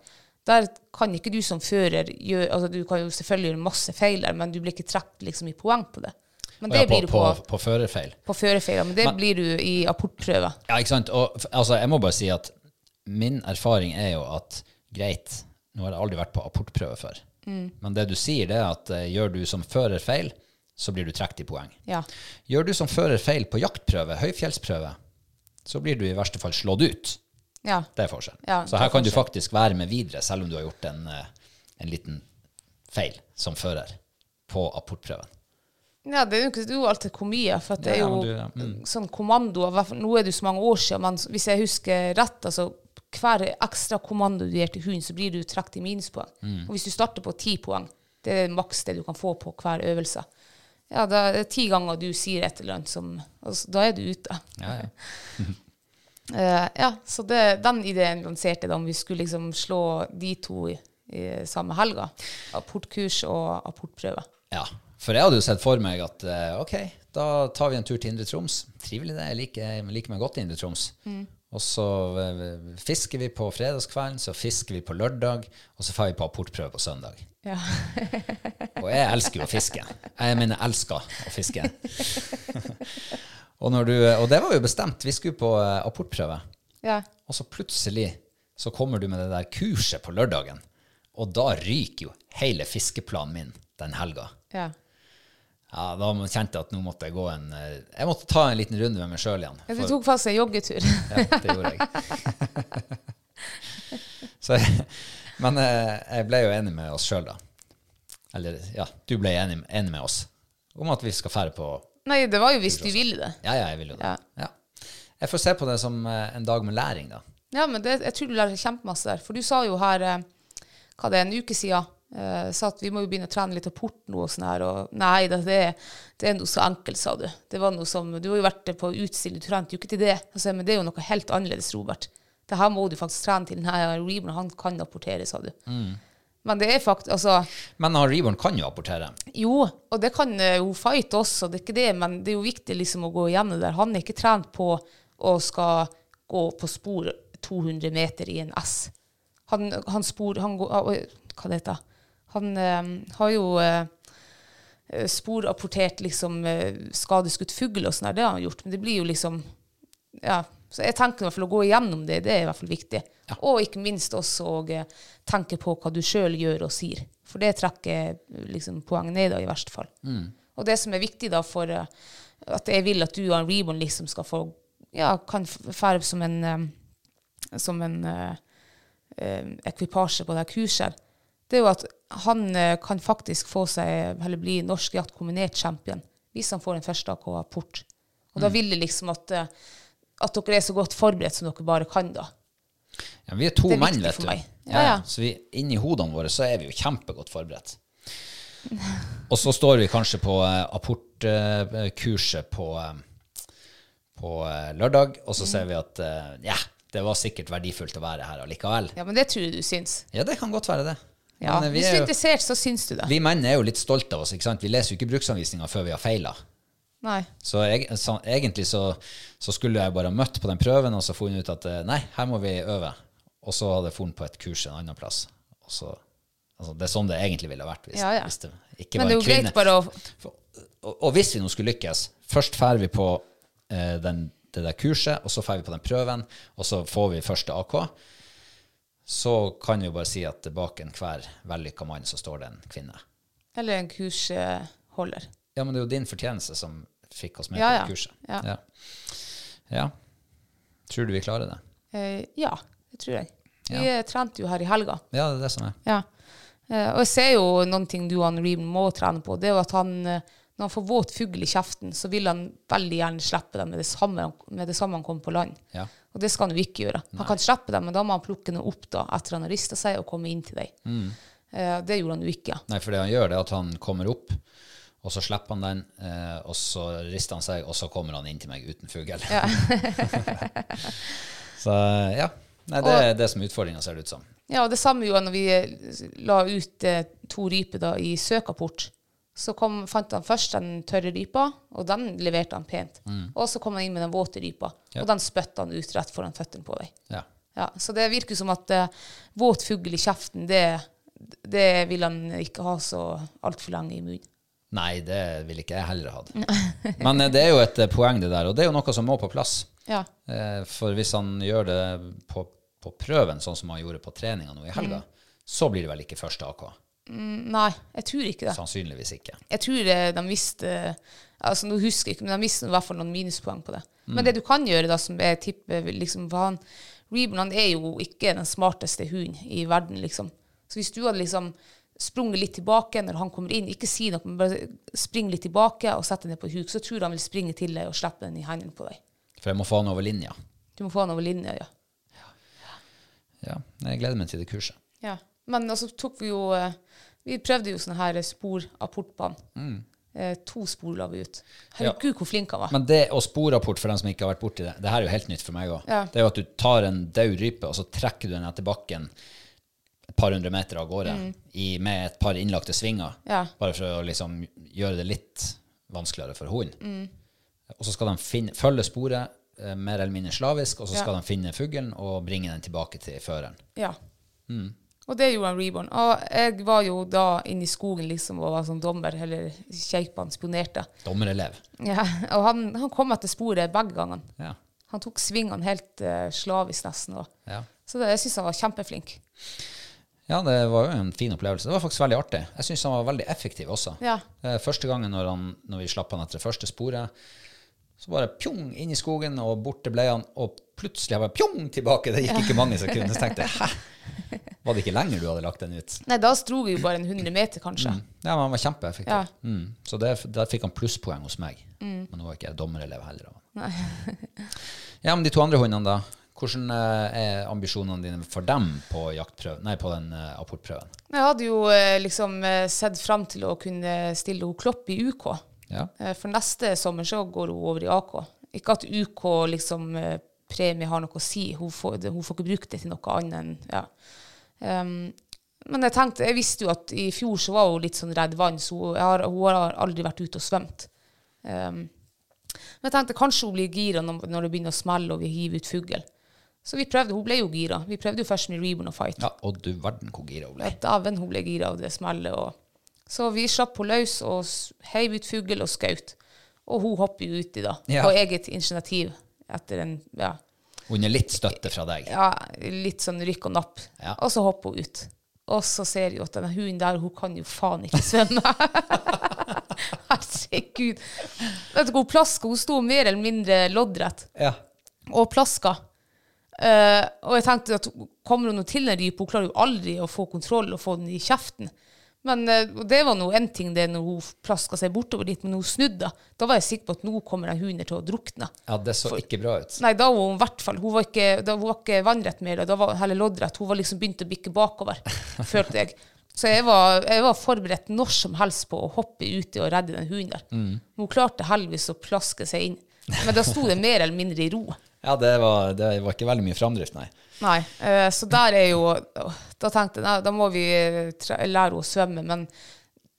der kan ikke du som fører gjøre altså Du kan jo selvfølgelig gjøre masse feil der, men du blir ikke trukket liksom i poeng på det. Men
Og
det
ja,
blir du
på,
på,
på, på førerfeil.
på førerfeil, men det
Men-
blir du i apportprøve.
Ja, ikke sant? Og, f- altså, jeg må bare si at min erfaring er jo at greit, nå har jeg aldri vært på apportprøve før.
Mm.
Men det du sier, det er at eh, gjør du som fører feil, så blir du trukket i poeng.
Ja.
Gjør du som fører feil på jaktprøve, høyfjellsprøve, så blir du i verste fall slått ut.
ja.
Det er forskjellen.
Ja,
så
det
her
er
kan du faktisk være med videre, selv om du har gjort en, eh, en liten feil som fører på apportprøven.
Ja, det er jo ikke det er jo alltid hvor mye, for at det er
Ja,
jo
men du- ja, mm.
sånn kommando av hvert fall- Nå er det jo så mange år siden, men hvis jeg husker rett, altså hver ekstra kommando du gir til hunden, så blir du trukket i minuspoeng.
Mm.
Og hvis du starter på ti poeng, det er maks det du kan få på hver øvelse. Ja, da er det ti ganger du sier et eller annet som altså, Da er du ute.
Ja, ja.
Eh, ja, så det, den ideen lanserte jeg da, om vi skulle liksom slå de to i, i samme helga. Apportkurs og apportprøve.
Ja, For jeg hadde jo sett for meg at eh, ok, da tar vi en tur til Indre Troms. Trivelig det, jeg liker, jeg liker meg godt i Indre Troms. Og så eh, fisker vi på fredagskvelden, så fisker vi på lørdag, og så får vi på apportprøve på søndag.
Ja.
Og jeg elsker jo å fiske. Jeg mener jeg elsker å fiske. og, når du, og det var jo bestemt. Vi skulle på eh, apportprøve.
ja.
Og så plutselig så kommer du med det der kurset på lørdagen. Og da ryker jo hele fiskeplanen min den helga.
ja.
Ja, da må- kjente jeg at nå måtte jeg gå en eh, Jeg måtte ta en liten runde med meg sjøl igjen.
Ja, Du
for-
tok fast en joggetur.
ja, det gjorde jeg. Så, jeg- men eh, jeg ble jo enig med oss sjøl, da. Eller ja, du ble enig, enig med oss om at vi skal fære på
Nei, det var jo hvis du ville det.
Ja, ja, jeg vil jo det.
Ja.
Ja. Jeg får se på det som eh, en dag med læring, da.
Ja, men det, jeg tror du lærer kjempemasse der. For du sa jo her, eh, hva det er, en uke siden, eh, sa at vi må jo begynne å trene litt apport nå og sånn her. Og nei, det, det, det er noe så enkelt, sa du. Det var noe som, du har jo vært på utstilling, du trente jo ikke til det. Altså, men det er jo noe helt annerledes, Robert. Det her må du faktisk trene til. Denne Reborn, han kan apportere, sa du. Men det er faktisk, altså,
Men han Reborn kan jo apportere.
jo, og det kan eh, hun fight også, det er ikke det, men det er jo viktig liksom å gå igjennom det der. Han er ikke trent på å skal gå på spor 200 meter i en S. Han, han spor han går, ah, oi, Hva det heter det? Han eh, har jo eh, eh, sporapportert liksom, eh, skadeskutt fugl og sånn, her, det har han gjort, men det blir jo liksom ja, så jeg tenker i hvert fall å gå igjennom det, det er i hvert fall viktig. Og ikke minst også å eh, tenke på hva du sjøl gjør og sier. For det trekker eh, liksom poeng ned da, i verste fall. Og det som er viktig da for eh, at jeg vil at du og en Reborn liksom skal få Ja, kan fære som en eh, som en eh, eh, ekvipasje på det her kurset, her, det er jo at han eh, kan faktisk få seg, eller bli norsk jakt kombinert champion, hvis han får en første AK-port. Og
Mm.
da vil det liksom at, eh, at dere er så godt forberedt som dere bare kan da.
Ja, vi er to
Det er
menn,
viktig
vet
for
du.
meg. Ja, ja.
Så vi, inni hodene våre så er vi jo kjempegodt forberedt. Og så står vi kanskje på eh, apportkurset på, eh, på eh, lørdag, og så ser vi at eh, ja, det var sikkert verdifullt å være her allikevel.
Ja, men det tror jeg du syns.
Ja, det kan godt være det.
Ja,
Men, eh, vi,
hvis du er
er jo,
interessert, så syns du det.
vi menn er jo litt stolte av oss, ikke sant? Vi leser jo ikke bruksanvisninga før vi har feila.
Nei.
Så, jeg, så egentlig så, så skulle jeg bare ha møtt på den prøven og så funnet ut at eh, nei, her må vi øve. Og så hadde jeg funnet på et kurs en annen plass. Og så, altså, det er sånn det egentlig ville ha vært hvis,
Ja, ja.
hvis det ikke
Men
var en
det er jo greit
kvinne.
bare å
For- Og, og hvis vi nå skulle lykkes, først drar vi på eh, den, det der kurset, og så drar vi på den prøven, og så får vi første AK. Så kan vi jo bare si at bak enhver vellykka mann så står det en kvinne.
Eller en kursholder.
Ja, men det er jo din fortjeneste som fikk oss med
Ja,
på
ja.
det kurset.
Ja.
Ja. ja. Tror du vi klarer det?
Eh, ja, det tror jeg. Vi
Ja.
eh, trente jo her i helga.
Ja, det er det som er.
Ja. Eh, og jeg ser jo noen ting du og han Reem må trene på. Det er jo at han, eh, når han får våt fugl i kjeften, så vil han veldig gjerne slippe den med det samme han, med det samme han kommer på land.
Ja.
Og det skal han jo ikke gjøre. Han kan slippe den, men da må han plukke den opp da, etter han har rista seg, og komme inn til deg. Eh, det gjorde han jo ikke.
Nei, for det han gjør, det er at han kommer opp, og så slipper han den, eh, og så rister han seg, og så kommer han inn til meg uten fugl. så ja. Nei, det er det som er utfordringa, ser det ut som.
Ja, og det samme gjorde han når vi eh, la ut eh, to ryper da, i søkapport. Så kom, fant han først den tørre rypa, og den leverte han pent. Og så kom han inn med den våte rypa,
Ja.
og den spytta han ut rett foran føttene på deg.
Ja.
Ja, så det virker som at eh, våt fugl i kjeften, det, det vil han ikke ha så altfor lenge i munnen.
Nei, det ville ikke jeg heller hatt. Men eh, det er jo et eh, poeng, det der, og det er jo noe som må på plass.
Ja.
Eh, For hvis han gjør det på, på prøven, sånn som han gjorde på treninga nå i helga, så blir det vel ikke første AK.
Mm, Nei, jeg tror ikke det.
Sannsynligvis ikke.
Jeg tror eh, de visste altså Nå husker jeg ikke, men de visste i hvert fall noen minuspoeng på det. Men det du kan gjøre, da, som jeg tipper liksom, for han, Reborn han er jo ikke den smarteste hunden i verden, liksom. Så hvis du hadde liksom sprunget litt tilbake når han kommer inn, ikke si noe, men bare spring litt tilbake og sett deg ned på huk, så tror jeg han vil springe til deg og slippe den i hendene på deg.
For jeg må få han over linja.
Du må få han over linja, ja.
Ja, jeg gleder meg til det kurset.
Ja. Men så tok vi jo eh, Vi prøvde jo sånne her spor av portbanen. Eh, to spor la vi ut. Herregud, hvor flink han var.
Men det og sporrapport for dem som ikke har vært borti det, det her er jo helt nytt for meg òg.
Ja.
Det er jo at du tar en død rype, og så trekker du den etter bakken et par hundre meter av gårde i, med et par innlagte svinger,
Ja.
bare for å liksom gjøre det litt vanskeligere for hunden. Og så skal de finne, følge sporet eh, mer eller mindre slavisk, og så
Ja.
skal de finne fuglen og bringe den tilbake til føreren.
Ja. Og det gjorde han Reborn. Og jeg var jo da inne i skogen liksom og var som dommer, eller keipan, spionerte.
Dommerelev.
Ja. Og han, han kom etter sporet begge gangene.
Ja.
Han tok svingene helt eh, slavisk nesten. Og.
Ja.
Så det, jeg syns han var kjempeflink.
Ja, det var jo en fin opplevelse. Det var faktisk veldig artig. Jeg syns han var veldig effektiv også.
Ja.
Eh, Første gangen når, han, når vi slapp han etter det første sporet, så bare pjong inn i skogen, og borte ble han, og plutselig bare pjong tilbake. Det gikk ikke mange sekunder. Så tenkte jeg, hæ? Var det ikke lenger du hadde lagt den ut?
Nei, da sto vi jo bare en 100 meter, kanskje.
Ja, men han var kjempeeffektiv.
Ja. Mm.
Mm. Så der, der fikk han plusspoeng hos meg. Men nå var ikke jeg dommerelev heller. av han. ja, men de to andre hundene, da? Hvordan eh, er ambisjonene dine for dem på, jaktprøv- nei, på den eh, apportprøven?
Jeg hadde jo eh, liksom eh, sett fram til å kunne stille hun Klopp i UK.
Ja.
Eh, For neste sommer så går hun over i AK. Ikke at UK liksom eh, premie har noe å si, hun får, det- hun får ikke brukt det til noe annet enn ja. Ehm, men jeg tenkte, jeg visste jo at i fjor så var hun litt sånn redd vann, så hun jeg har, hun har aldri vært ute og svømt. Ehm, men jeg tenkte kanskje hun blir gira når, når det begynner å smelle og vi hiver ut fugl. Så vi prøvde, hun ble jo gira. Vi prøvde jo først med Reborn og Fight.
Ja, og du verden hvor gira hun ble.
At Daven hun ble gira av det smellet. Og. Så vi slapp henne løs og s- heiv ut fugl og skaut. Og hun hopper jo uti, da.
Ja.
På eget initiativ. Etter en ja,
Under litt støtte fra deg.
ja, litt sånn rykk og napp.
Ja.
Og så hopper hun ut. Og så ser jeg jo at denne hunden der, hun kan jo faen ikke svømme. Herregud. Vet du hvor hun plaska? Hun sto mer eller mindre loddrett
Ja.
og plaska. Eh, og jeg tenkte at kommer hun nå til en rype, hun klarer jo aldri å få kontroll og få den i kjeften. Men eh, og det var nå én ting det når hun plaska seg bortover dit, men når hun snudde. Da var jeg sikker på at nå kommer den hunden til å drukne.
det så ikke bra ut.
Nei, da var hun i hvert fall Hun var ikke, da var hun ikke vannrett mer, da var hun heller loddrett. Hun var liksom begynt å bikke bakover, følte jeg. Så jeg var, jeg var forberedt når som helst på å hoppe uti og redde den hunden der. Men Hun klarte heldigvis å plaske seg inn. Men da sto det mer eller mindre i ro.
Ja, det var, det var ikke veldig mye framdrift, nei.
Nei, eh, så der er jo Da tenkte jeg nei, da må vi eh, tre- lære henne å svømme, men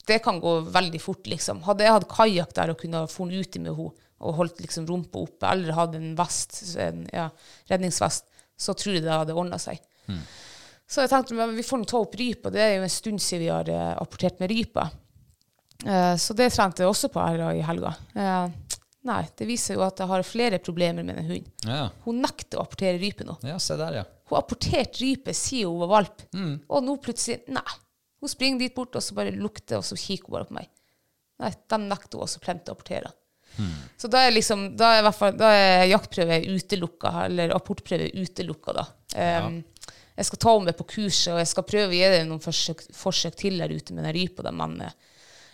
det kan gå veldig fort, liksom. Hadde jeg hatt kajakk der og kunne ha funnet uti med henne og holdt liksom rumpa oppe, eller hadde en vest, en ja, redningsvest, så tror jeg det hadde ordna seg. Så jeg tenkte men vi får nå ta opp rypa, det er jo en stund siden vi har eh, apportert med rypa. Eh, så det trente jeg også på her i helga. Eh, nei, det viser jo at jeg har flere problemer med den hunden.
Ja,
Hun nekter å apportere rype nå.
ja se der, ja.
Hun apporterte rype siden hun var valp. Og nå plutselig Nei. Hun springer dit bort, og så bare lukter, og så kikker hun bare på meg. Nei, den nekter hun også plent å apportere. Så da er liksom Da er, i hvert fall, da er jaktprøve utelukka, eller apportprøve utelukka, da. Ehm, Jeg skal ta henne med på kurset, og jeg skal prøve å gi det noen forsøk, forsøk til der ute med den rypa, da, men eh,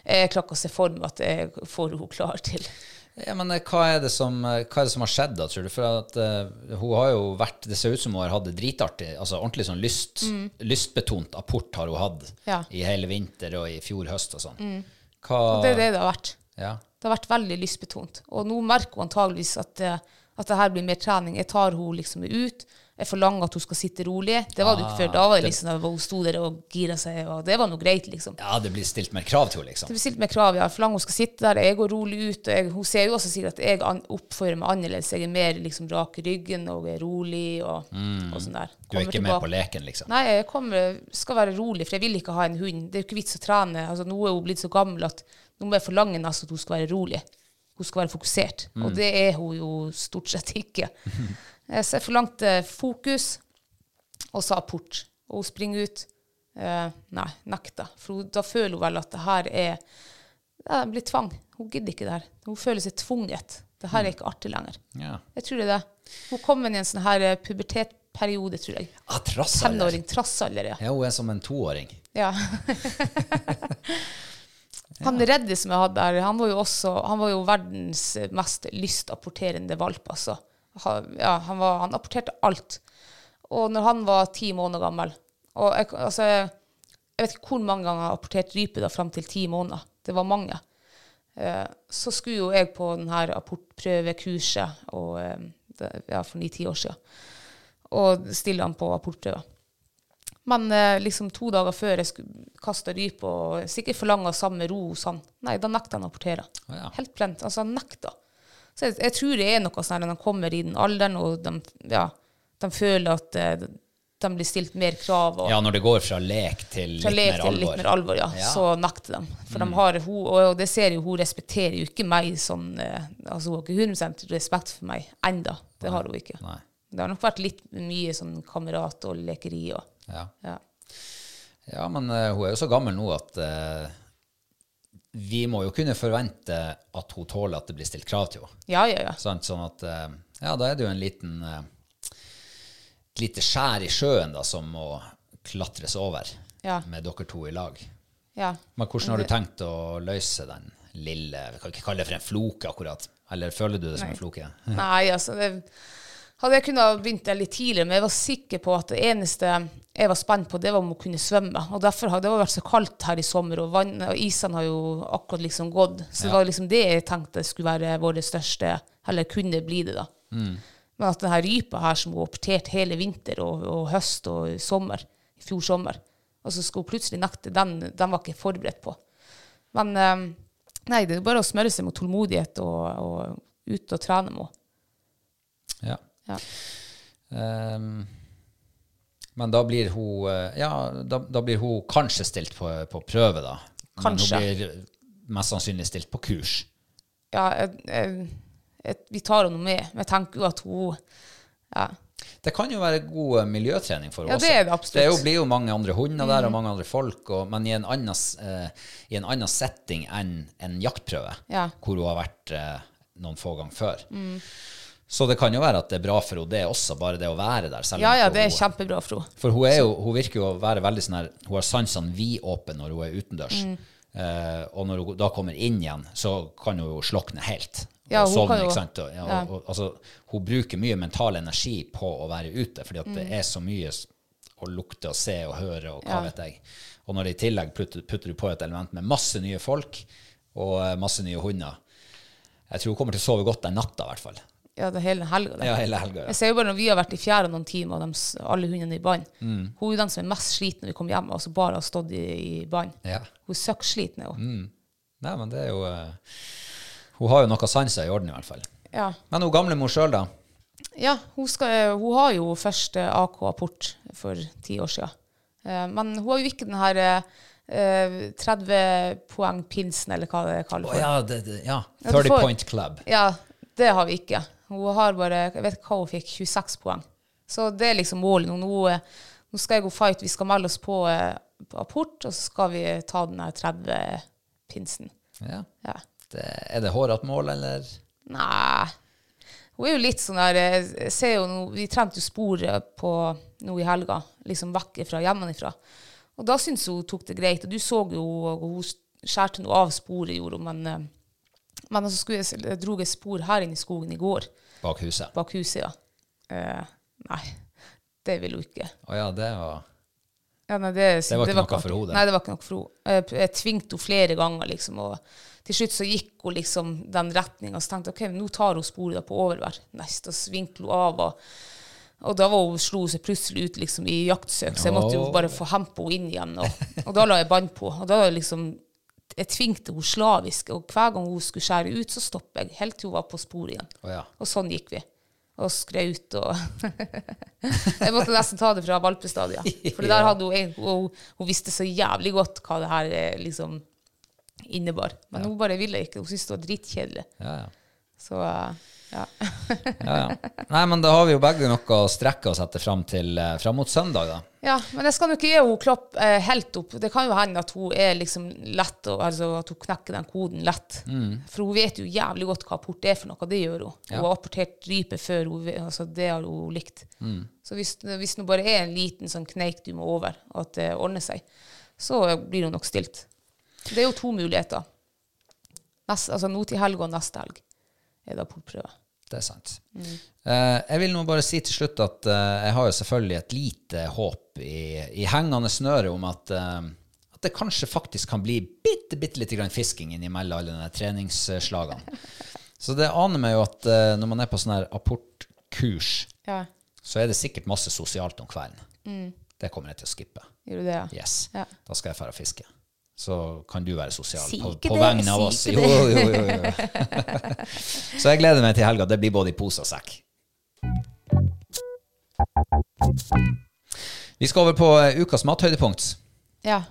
jeg klarer ikke å se for meg at jeg får henne klar til
ja men eh, hva er, det som, eh, hva er det som har skjedd, da, tror du? For at eh, hun har jo vært Det ser ut som hun har hatt det dritartig. Altså ordentlig sånn lyst, lystbetont apport har hun hatt
Mm. Ja. Mm.
i hele vinter og i fjor høst og sånn. Hva
Det er det det har vært.
Ja.
Det har vært veldig lystbetont. Og nå merker hun antageligvis at, eh, at det her blir mer trening. Jeg tar henne liksom ut. Jeg forlanger at hun skal sitte rolig. Det var det jo ikke før.
Ah,
Da var det liksom da hun sto der og gira seg, og det var nå greit, liksom.
ja, det blir stilt mer krav til henne,
Det
liksom.
blir stilt med krav. ja. Jeg forlanger hun skal sitte der, jeg går rolig ut. Og jeg, hun ser jo også sikkert at jeg an, oppfører meg annerledes. Jeg er mer liksom rak i ryggen og er rolig og, og sånn der.
Mm. Du er
Kommer
ikke med
tilbake-
på leken, liksom.
Nei, jeg kommer, skal være rolig, for jeg vil ikke ha en hund. Det er jo ikke vits å trene. Altså, nå er hun blitt så gammel at nå må jeg forlange nesten at hun skal være rolig. Hun skal være fokusert. Og det er hun jo stort sett ikke. Eh, Så jeg forlangte fokus, og sa port. Og hun springer ut. Eh, nei, nekta. For hun, da føler hun vel at det her er ja, Det blir tvang. Hun gidder ikke det her. Hun føler seg tvunget. Det her er ikke artig lenger.
Ja.
Jeg tror det er det. Hun kommer inn i en sånn her eh, pubertetperiode, tror jeg.
Ah, trassalder.
Tenåring, trassalder, ja.
Ja, hun er som en toåring.
ja. han redde som jeg hadde her, han var jo også han var jo verdens mest lystapporterende valp, altså. Han, ja, han, var, han apporterte alt. Og når han var ti måneder gammel og jeg, altså, jeg, jeg vet ikke hvor mange ganger jeg har apportert rype da, fram til ti måneder. Det var mange. Eh, så skulle jo jeg på den her apportprøvekurset og, eh, det, ja, for ni-ti år siden og stille han på apportprøve. Men eh, liksom to dager før jeg skulle kaste ryp og sikkert forlanga samme ros han Nei, da nekta han å apportere.
Å ja.
Helt plent. Altså, han nekta. Så jeg, jeg tror det er noe sånn her når de kommer i den alderen, og de, ja, de føler at eh, de blir stilt mer krav. Og,
Ja, når det går fra lek til
fra
litt
lek
mer
til
alvor.
litt mer alvor, ja,
Ja. Mm.
så nekter de. For de har, hun, og det ser jo, hun respekterer jo ikke meg sånn eh, Altså, hun har ikke 100 respekt for meg enda. Det har hun ikke.
Nei.
Det har nok vært litt mye sånn kamerat og lekeri og
Ja.
ja.
ja, men eh, hun er jo så gammel nå at eh, vi må jo kunne forvente at hun tåler at det blir stilt krav til henne.
ja, ja, ja.
Sant? Sånn at eh, Ja, da er det jo en liten eh, et lite skjær i sjøen da, som må klatres over
Ja.
med dere to i lag.
ja.
Men hvordan har du tenkt å løse den lille Vi kan ikke kalle det for en floke, akkurat. Eller føler du det som en floke?
Nei, altså det, Hadde jeg kunnet ha begynt det litt tidligere, men jeg var sikker på at det eneste jeg var spent på, det var om å kunne svømme. Og derfor har det vært så kaldt her i sommer, og, vann, og isen har jo akkurat liksom gått. Så det var liksom det jeg tenkte skulle være våre største, eller kunne bli det, da. Men at denne rypa her som hun har operert hele vinter og, og høst og sommer, i fjor sommer, og så skal hun plutselig nekte, den, den var ikke jeg forberedt på. Men eh, nei, det er bare å smøre seg mot tålmodighet og, og ut og trene med henne.
Ja.
Ja.
Ehm, men da blir hun eh, Ja, da, da blir hun kanskje stilt på, på prøve, da.
Kanskje.
Men hun blir mest sannsynlig stilt på kurs.
ja, jeg, jeg, jeg, vi tar henne med. Men jeg tenker jo at hun ja,
Det kan jo være god eh, miljøtrening for henne
Ja,
også.
det er det absolutt. Mm.
Det er jo, blir jo mange andre hunder der, og mange andre folk, og, men i en, annen, s- eh, i en annen setting enn en jaktprøve,
Ja. Mm.
hvor hun har vært eh, noen få ganger før. Så det kan jo være at det er bra for henne, det også, bare det å være der. selv
ja,
om
ja,
ikke
det er
hun-
kjempebra for henne.
For hun, er jo, hun virker jo å være veldig sånn her Hun har sansene vidåpne når hun er utendørs.
Mm.
Eh, og når hun da kommer inn igjen, så kan hun jo slokne helt.
Ja,
og
hun kan jo-
ikke sant? Og, ja, og, og, altså, hun bruker mye mental energi på å være ute, fordi at det
Mm.
er så mye s- å lukte og se og høre og hva vet jeg. Og når det i tillegg putter, putter du på et element med masse nye folk og eh, masse nye hunder Jeg tror hun kommer til å sove godt den natta, i hvert fall.
Ja, det er hele helga.
Ja, hele helga.
Jeg
Ja.
ser jo bare når vi har vært i fjæra noen timer, og de, s- alle hundene i bånd
Mm.
Hun er jo den som er mest sliten når vi kommer hjem, altså bare har stått i, i bånd.
Ja. Mm.
Hun er søkksliten, er hun.
Nei, men det er jo eh, Hun har jo noe sanser i orden, i hvert fall.
Ja.
Men hun gamlemor sjøl, da?
Ja, hun, skal, hun har jo første AK-apport for ti år siden. Eh, Men hun har jo ikke den her eh, 30 poeng-pinsen, eller hva det kalles.
Å
for.
ja, det, det, ja.
Ja,
30
du får-
Point Club.
Ja, det har vi ikke. Hun har bare, jeg vet ikke hva hun fikk, 26 poeng. Så det er liksom målet nå. Nå, eh, nå skal jeg gå fight, vi skal melde oss på, eh, på apport, og så skal vi ta den her 30-pinsen.
Ja.
Ja.
Det, er det hårete mål, eller?
Nei. Hun er jo litt sånn der, eh, jeg ser jo nå, vi trente jo sporet på nå i helga, liksom vekk fra hjemmefra. Og da syntes hun tok det greit, og du så jo, og hun skjærte noe av sporet, gjorde hun, men, eh, men så skulle jeg, jeg drog et spor her inne i skogen i går,
Bak huset.
bak huset, ja. Eh, nei, det vil hun ikke.
Å ja, det var
Ja, nei, det,
Det var ikke noe for
artig.
henne, det.
Nei, det var ikke noe for henne. Eh, Jeg, jeg tvingte henne flere ganger, liksom, og til slutt så gikk hun liksom den retninga, så tenkte jeg ok, men nå tar hun sporet da på overvær. Nest, og svinkte hun av, og, og da var hun, slo hun seg plutselig ut liksom i jaktsøk, så jeg måtte jo
Åh.
bare få hempa henne inn igjen, og, og da la jeg bånd på. Og da liksom jeg tvingte henne slavisk, og hver gang hun skulle skjære ut, så stoppet jeg, helt til hun var på sporet igjen.
Å ja.
Og sånn gikk vi. Og skrei ut og Jeg måtte nesten ta det fra valpestadiet. For det der hadde hun, en- hun, hun visste så jævlig godt hva det her eh, liksom innebar. Men hun bare ville ikke. Hun syntes det var dritkjedelig.
Ja, ja.
Så eh, ja.
ja, ja. Nei, men da har vi jo begge noe å strekke oss etter fram, til, eh, fram mot søndag, da.
ja. Men jeg skal nok ikke gi henne Klopp eh, helt opp. Det kan jo hende at hun er liksom lett, og, altså at hun knekker den koden lett. For hun vet jo jævlig godt hva apport er for noe. Det gjør hun. Hun har apportert rype før. Hun, ve- altså det har hun likt. Så hvis, hvis det bare er en liten sånn kneik du må over, og at det ordner seg, så blir hun nok stilt. Det er jo to muligheter. Nest, altså nå til helg og neste helg er det apportprøve.
Det er sant. Eh, jeg vil nå bare si til slutt at eh, jeg har jo selvfølgelig et lite håp i, i hengende snøre om at, eh, at det kanskje faktisk kan bli bitte, bitte lite grann fisking innimellom alle de der treningsslagene. Så det aner meg jo at eh, når man er på sånn her apportkurs,
Ja.
så er det sikkert masse sosialt om kvelden. Det kommer jeg til å skippe.
Gjør du det, ja?
Yes.
Ja.
Da skal jeg dra og fiske. Så kan du være sosial
Si
på,
ikke
på
det,
vegne av
si
oss.
ikke
Jo, jo, jo, jo, jo. Så jeg gleder meg til helga. Det blir både i pose og sekk. Vi skal over på eh, ukas mathøydepunkt.
ja.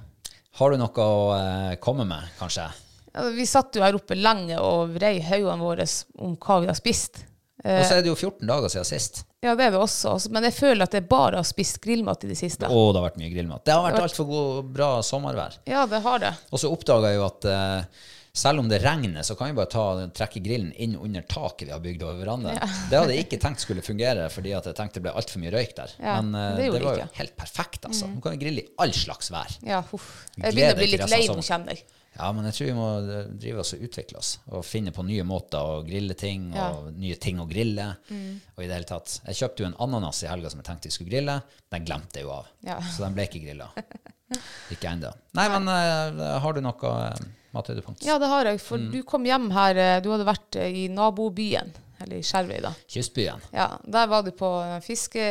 Har du noe å eh, komme med, kanskje?
Altså, Vi satt jo her oppe lenge og vrei hodene våre om hva vi har spist.
Og så er det jo 14 dager siden sist.
Ja, det er det også, altså, men jeg føler at jeg bare har spist grillmat i det siste.
Å, det har vært mye grillmat. Det har vært altfor god- bra sommervær.
Ja, det har det.
Og så oppdaga jeg jo at eh, selv om det regner, så kan vi bare ta, trekke grillen inn under taket vi har bygd over verandaen. Det hadde jeg ikke tenkt skulle fungere, fordi at jeg tenkte det ble altfor mye røyk der.
Ja,
Men eh,
det
det,
gjorde
var
det
jo
ikke. Mm.
helt perfekt, altså. Nå kan vi grille i all slags vær.
Ja, huff.
Gleder
Jeg begynner å bli
ikke
litt
resten av
lei nå,
sommeren.
kjenner jeg.
Ja, men jeg tror vi må eh, drive oss og utvikle oss, og finne på nye måter å grille ting,
Ja. Mm.
og nye ting å grille, og i det hele tatt. Jeg kjøpte jo en ananas i helga som jeg tenkte jeg skulle grille, den glemte jeg jo av.
Ja.
Så den ble ikke grilla. Ikke ennå. Nei, men eh, har du noe uh, mathøydepunkt?
Ja, det har jeg, for du kom hjem her, eh, du hadde vært eh, i nabobyen, eller i Skjervøy da.
Kystbyen.
Ja, der var du på eh, fiske,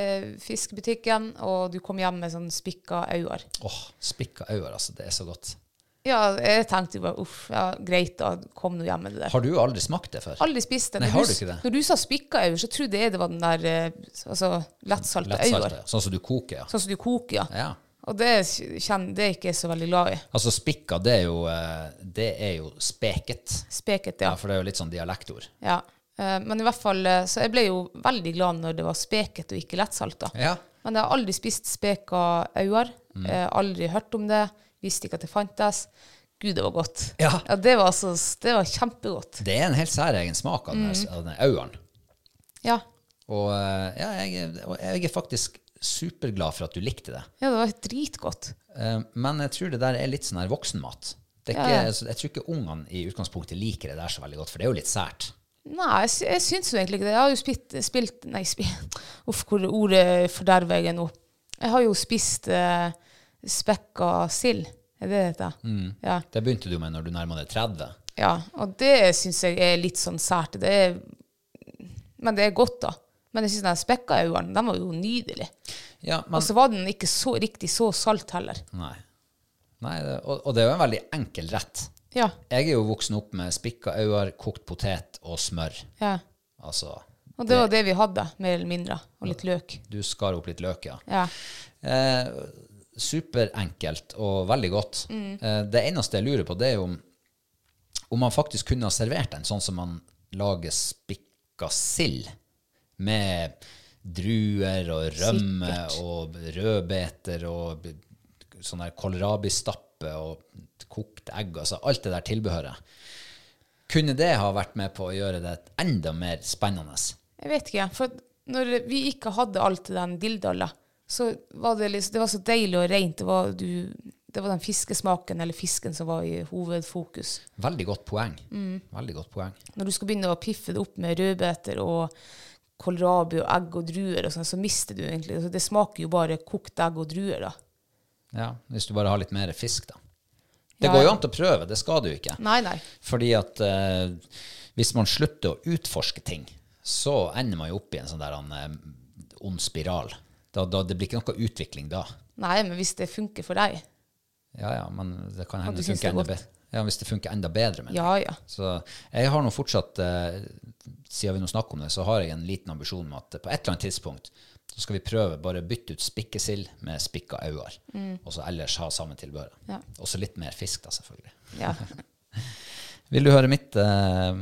fiskebutikken, og du kom hjem med sånn spikka øyne.
Åh, spikka øyne, altså. Det er så godt.
Ja, jeg tenkte jo bare, uff, ja, greit da, kom nå hjem med det der.
Har du aldri smakt det før?
Aldri spist det.
Nei,
Når
har
du-
du ikke det?
Når du sa spikka øyne, så trodde jeg det var den der eh, altså, lettsalta øyne.
Lettsalta. Sånn som du koker, ja.
Sånn som du koker, ja.
ja.
Og det, kjenner, det er ikke jeg så veldig glad i.
Altså, spikka, det er jo, eh, det er jo speket.
Speket,
Ja,
ja.
for det er jo litt sånn dialektord.
ja. Eh, Men i hvert fall, eh, så jeg ble jo veldig glad når det var speket og ikke lettsalta.
Ja. Mm.
Men jeg har aldri spist speka øyne. Eh, Aldri hørt om det. Visste ikke at det fantes. Gud, det var godt.
Ja.
det, var altså, det var kjempegodt.
Det er en helt særegen smak av den
Mm.
her- av den øyeren.
Ja.
Og eh, ja, jeg, er- og jeg er faktisk superglad for at du likte det.
ja, det var dritgodt.
Eh, Men jeg tror det der er litt sånn her voksenmat. Det er
Ja,
ikke,
ja.
altså, Jeg tror ikke ungene i utgangspunktet liker det der så veldig godt, for det er jo litt sært.
Nei, jeg, sy jeg syns jo egentlig ikke det. Jeg har jo spilt, spilt Nei, spilt Uff, hvor ordet forderver jeg nå. Jeg har jo spist eh, spekka sild. Er det det heter? Ja.
Det begynte du med når du nærma deg 30.
ja. Og det syns jeg er litt sånn sært. Det er, men det er godt, da. Men jeg syns den spekka øynene, den var jo nydelig.
Ja, men
Og så var den ikke så, riktig så salt heller.
Nei. Nei det, og, og det er jo en veldig enkel rett.
Ja.
Jeg er jo voksen opp med spikka øyne, kokt potet og smør.
ja.
Altså,
Og det var det vi hadde, mer eller mindre. Og litt løk.
du skar opp litt løk, ja.
Ja.
Eh, superenkelt og veldig godt. Eh, det eneste jeg lurer på, det er jo om, om man faktisk kunne ha servert den sånn som man lager spikka sild, med druer og rømme og rødbeter og b- sånn der kålrabistappe og kokt egg, altså alt det der tilbehøret. Kunne det ha vært med på å gjøre det enda mer spennende?
Jeg vet ikke, for når vi ikke hadde alt det den dildalla, så var det liksom, det var så deilig og rent. Det var, du, det var den fiskesmaken eller fisken som var i hovedfokus.
Veldig godt poeng. Veldig godt poeng.
Når du skal begynne å piffe det opp med rødbeter og kålrabi og egg og druer og sånn, så mister du egentlig altså, Det smaker jo bare kokt egg og druer, da.
Ja, hvis du bare har litt mer fisk, da. Det
Ja,
går jo
ja.
an til å prøve, det skal du ikke.
Nei, nei.
Fordi at eh, hvis man slutter å utforske ting, så ender man jo opp i en sånn der eh, ond spiral. Da, da, det blir ikke noe utvikling da.
Nei, men hvis det funker for deg
Ja, ja, men det kan hende
du
det
syns det
funker
er
enda
godt.
bedre. Ja, hvis det funker enda bedre, mener jeg.
Ja, ja.
Så jeg har nå fortsatt, eh, siden vi nå snakker om det, så har jeg en liten ambisjon om at på et eller annet tidspunkt så skal vi prøve bare å bytte ut spikkesild med spikka øyne, og så ellers ha samme tilbehør.
Mm. Ja.
Også litt mer fisk, da, selvfølgelig.
Ja,
Vil du høre mitt, eh,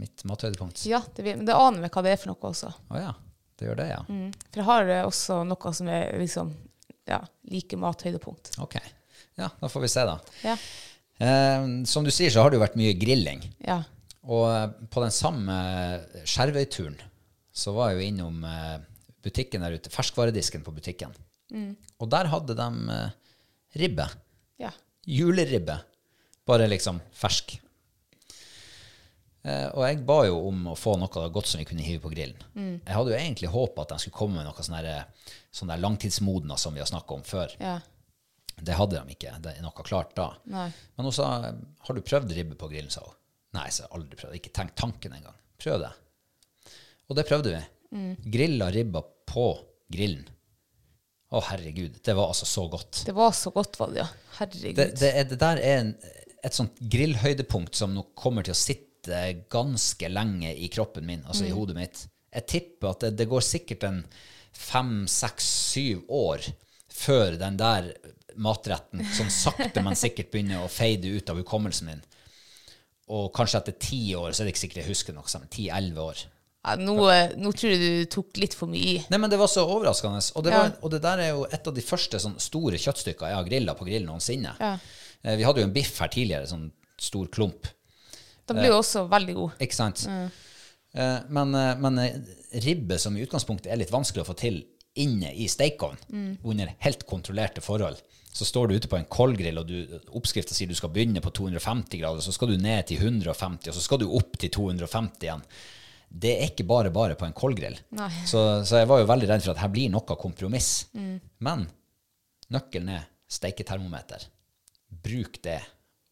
mitt mathøydepunkt?
ja det, vil- men det aner meg hva det er for noe også.
Å ja, det gjør det, ja.
Mm. For jeg har eh, også noe som er liksom ja, like mathøydepunkt.
Ok. Ja, da får vi se, da.
Ja.
Eh, som du sier, så har det jo vært mye grilling.
ja.
Og eh, på den samme Skjervøy-turen så var jeg jo innom eh, butikken der ute, ferskvaredisken på butikken. Og der hadde de eh, ribbe.
Ja.
Juleribbe. Bare liksom fersk. Eh, Og jeg ba jo om å få noe godt som vi kunne hive på grillen. Jeg hadde jo egentlig håpa at de skulle komme med noe sånn der, sånn der langtidsmodna som vi har snakka om før.
ja.
Det hadde de ikke. Det er noe klart da.
Nei.
Men hun sa har du prøvd ribbe på grillen. sa hun. Nei, så har jeg aldri prøvd. Ikke tenk tanken engang. Prøv det. Og det prøvde vi. Grilla ribba på grillen. Å, herregud. Det var altså så godt.
Det var så godt, var det, ja. Herregud.
Det, det, er, det der er en, et sånt grillhøydepunkt som nå kommer til å sitte ganske lenge i kroppen min, altså i hodet mitt. Jeg tipper at det, det går sikkert en fem, seks, syv år før den der matretten sånn sakte, men sikkert begynner å fade ut av hukommelsen min. Og kanskje etter ti år så er det ikke sikkert jeg husker noe sammen. Ti-elleve år.
Ja, nå, eh, nå tror jeg du tok litt for mye i.
Nei, men Det var så overraskende. Og det,
Ja.
var, og det der er jo et av de første sånn, store kjøttstykker jeg har grilla på grill noensinne. Eh, Vi hadde jo en biff her tidligere, sånn stor klump.
Den blir jo også veldig god.
Ikke sant? Eh, Men, eh, men eh, ribbe, som i utgangspunktet er litt vanskelig å få til inne i stekeovnen, under helt kontrollerte forhold, så står du ute på en koldgrill, og du- oppskriften sier du skal begynne på 250 grader, så skal du ned til 150, og så skal du opp til 250 igjen. Det er ikke bare bare på en koldgrill. Så, så jeg var jo veldig redd for at her blir noe kompromiss. Men nøkkelen er steiketermometer. Bruk det.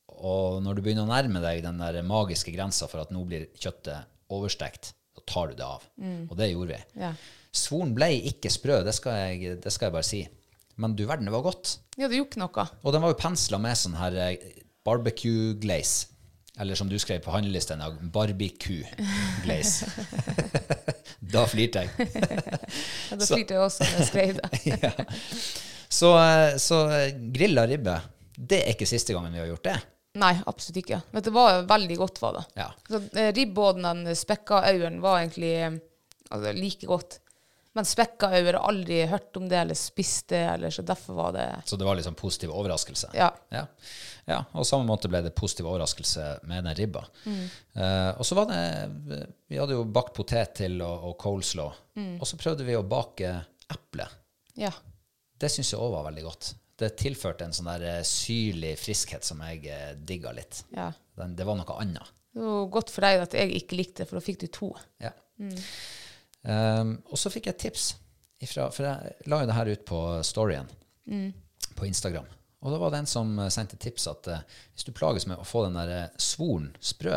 Og når du begynner å nærme deg den der magiske grensa for at nå blir kjøttet overstekt, så tar du det av. Og det gjorde vi.
Ja.
Svoren ble ikke sprø, det skal, jeg, det skal jeg bare si. Men du verden, det var godt.
Ja, det gjorde ikke noe.
Og den var jo pensla med sånn her eh, barbecue glaze. Eller som du skrev på handlelista en dag, barbecue glaze. da flirte jeg.
Ja, da flirte jeg også når jeg skrev det.
ja. så, eh, så eh, grilla ribbe, det er ikke siste gangen vi har gjort det.
Nei, absolutt ikke. Men det var veldig godt, var det.
Ja.
Så, eh, ribbe og den spekka auren var egentlig eh, altså, like godt. Men spekka auer har aldri hørt om det eller spist det, eller, så derfor var det
Så det var liksom positiv overraskelse.
Ja.
Ja. Ja, og samme måte ble det positiv overraskelse med den ribba. Eh, og så var det Vi hadde jo bakt potet til og, og coleslaw. Og så prøvde vi å bake eple.
Ja.
Det syns jeg òg var veldig godt. Det tilførte en sånn der eh, syrlig friskhet som jeg eh, digga litt.
ja.
Den, det var noe annet.
Det var godt for deg at jeg ikke likte det, for da fikk du to.
Ja. Um, og så fikk jeg et tips, ifra, for jeg la jo det her ut på storyen på Instagram. Og da var det en som eh, sendte tips at eh, hvis du plages med å få den der eh, svoren sprø,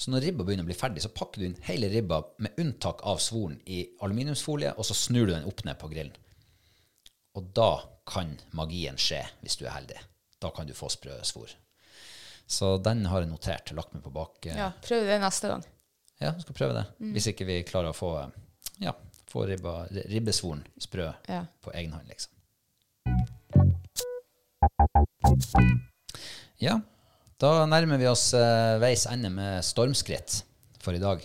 så når ribba begynner å bli ferdig, så pakker du inn hele ribba med unntak av svoren i aluminiumsfolie, og så snur du den opp ned på grillen. Og da kan magien skje, hvis du er heldig. Da kan du få sprø svor. Så den har jeg notert, lagt meg på bak. eh,
Ja, Prøv det neste gang.
ja, vi skal prøve det.
Mm.
Hvis ikke vi klarer å få, ja, få ribba, ribbesvoren sprø
Ja.
på egen hånd, liksom. Ja, da nærmer vi oss eh, veis ende med stormskritt for i dag.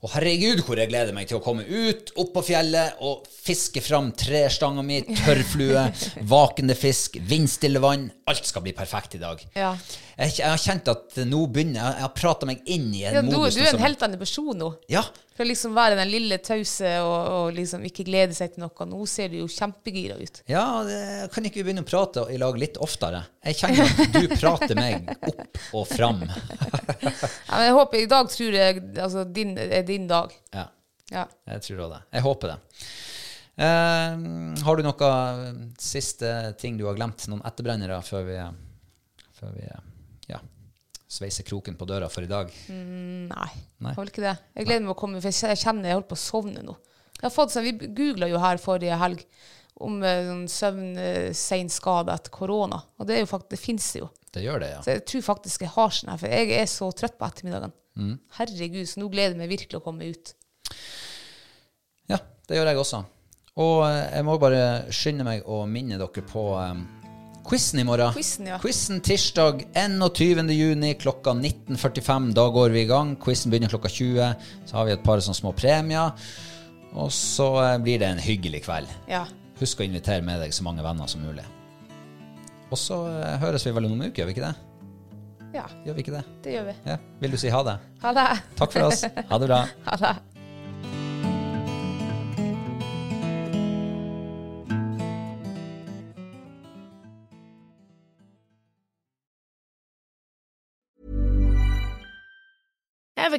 Og herregud, hvor jeg gleder meg til å komme ut opp på fjellet og fiske fram trestanga mi, tørrflue, vakende fisk, vindstille vann. Alt skal bli perfekt i dag.
Ja.
Jeg, jeg har kjent at nå begynner jeg, jeg har prata meg inn i en
Ja, du,
modus.
du
nå
er
som-
en helt annen person nå.
Ja,
Fra liksom være den lille tause og, og liksom ikke glede seg til noe. Nå ser du jo kjempegira ut.
ja det, kan ikke vi begynne å prate i lag litt oftere? Jeg kjenner at du prater meg opp og fram.
Ja, men jeg håper I dag tror jeg altså, din, er din dag.
Ja,
Ja.
jeg tror også det. Jeg håper det. Eh, har du noe siste ting du har glemt? Noen etterbrennere før vi, før vi ja, sveiser kroken på døra for i dag?
Nei,
Nei.
jeg har vel ikke det. Jeg gleder meg å komme, for jeg kje- jeg kjenner jeg holder på å sovne nå. Jeg har fått sånn, Vi googla jo her forrige helg om eh, sånn søvnseinskade etter korona, og det er jo faktisk, det fins jo.
Det gjør det, ja.
Så jeg tror faktisk jeg har sånn her, for jeg er så trøtt på ettermiddagen.
Mm.
Herregud, så nå gleder jeg meg virkelig å komme ut.
Ja, det gjør jeg også. Og eh, jeg må bare skynde meg å minne dere på um, quizen i morgen.
Quizen, ja.
Quizen tirsdag 21. juni klokka 19.45. Da går vi i gang. Quizen begynner klokka 20. Så har vi et par sånne små premier. Og så eh, blir det en hyggelig kveld.
Ja.
Husk å invitere med deg så mange venner som mulig. Og så eh, høres vi vel om en uke, gjør vi ikke det?
ja,
Gjør vi ikke det?
det gjør vi.
Ja. Vil du si ha det?
Ha det.
Takk for oss. Ha det bra.
Ha det.
Ever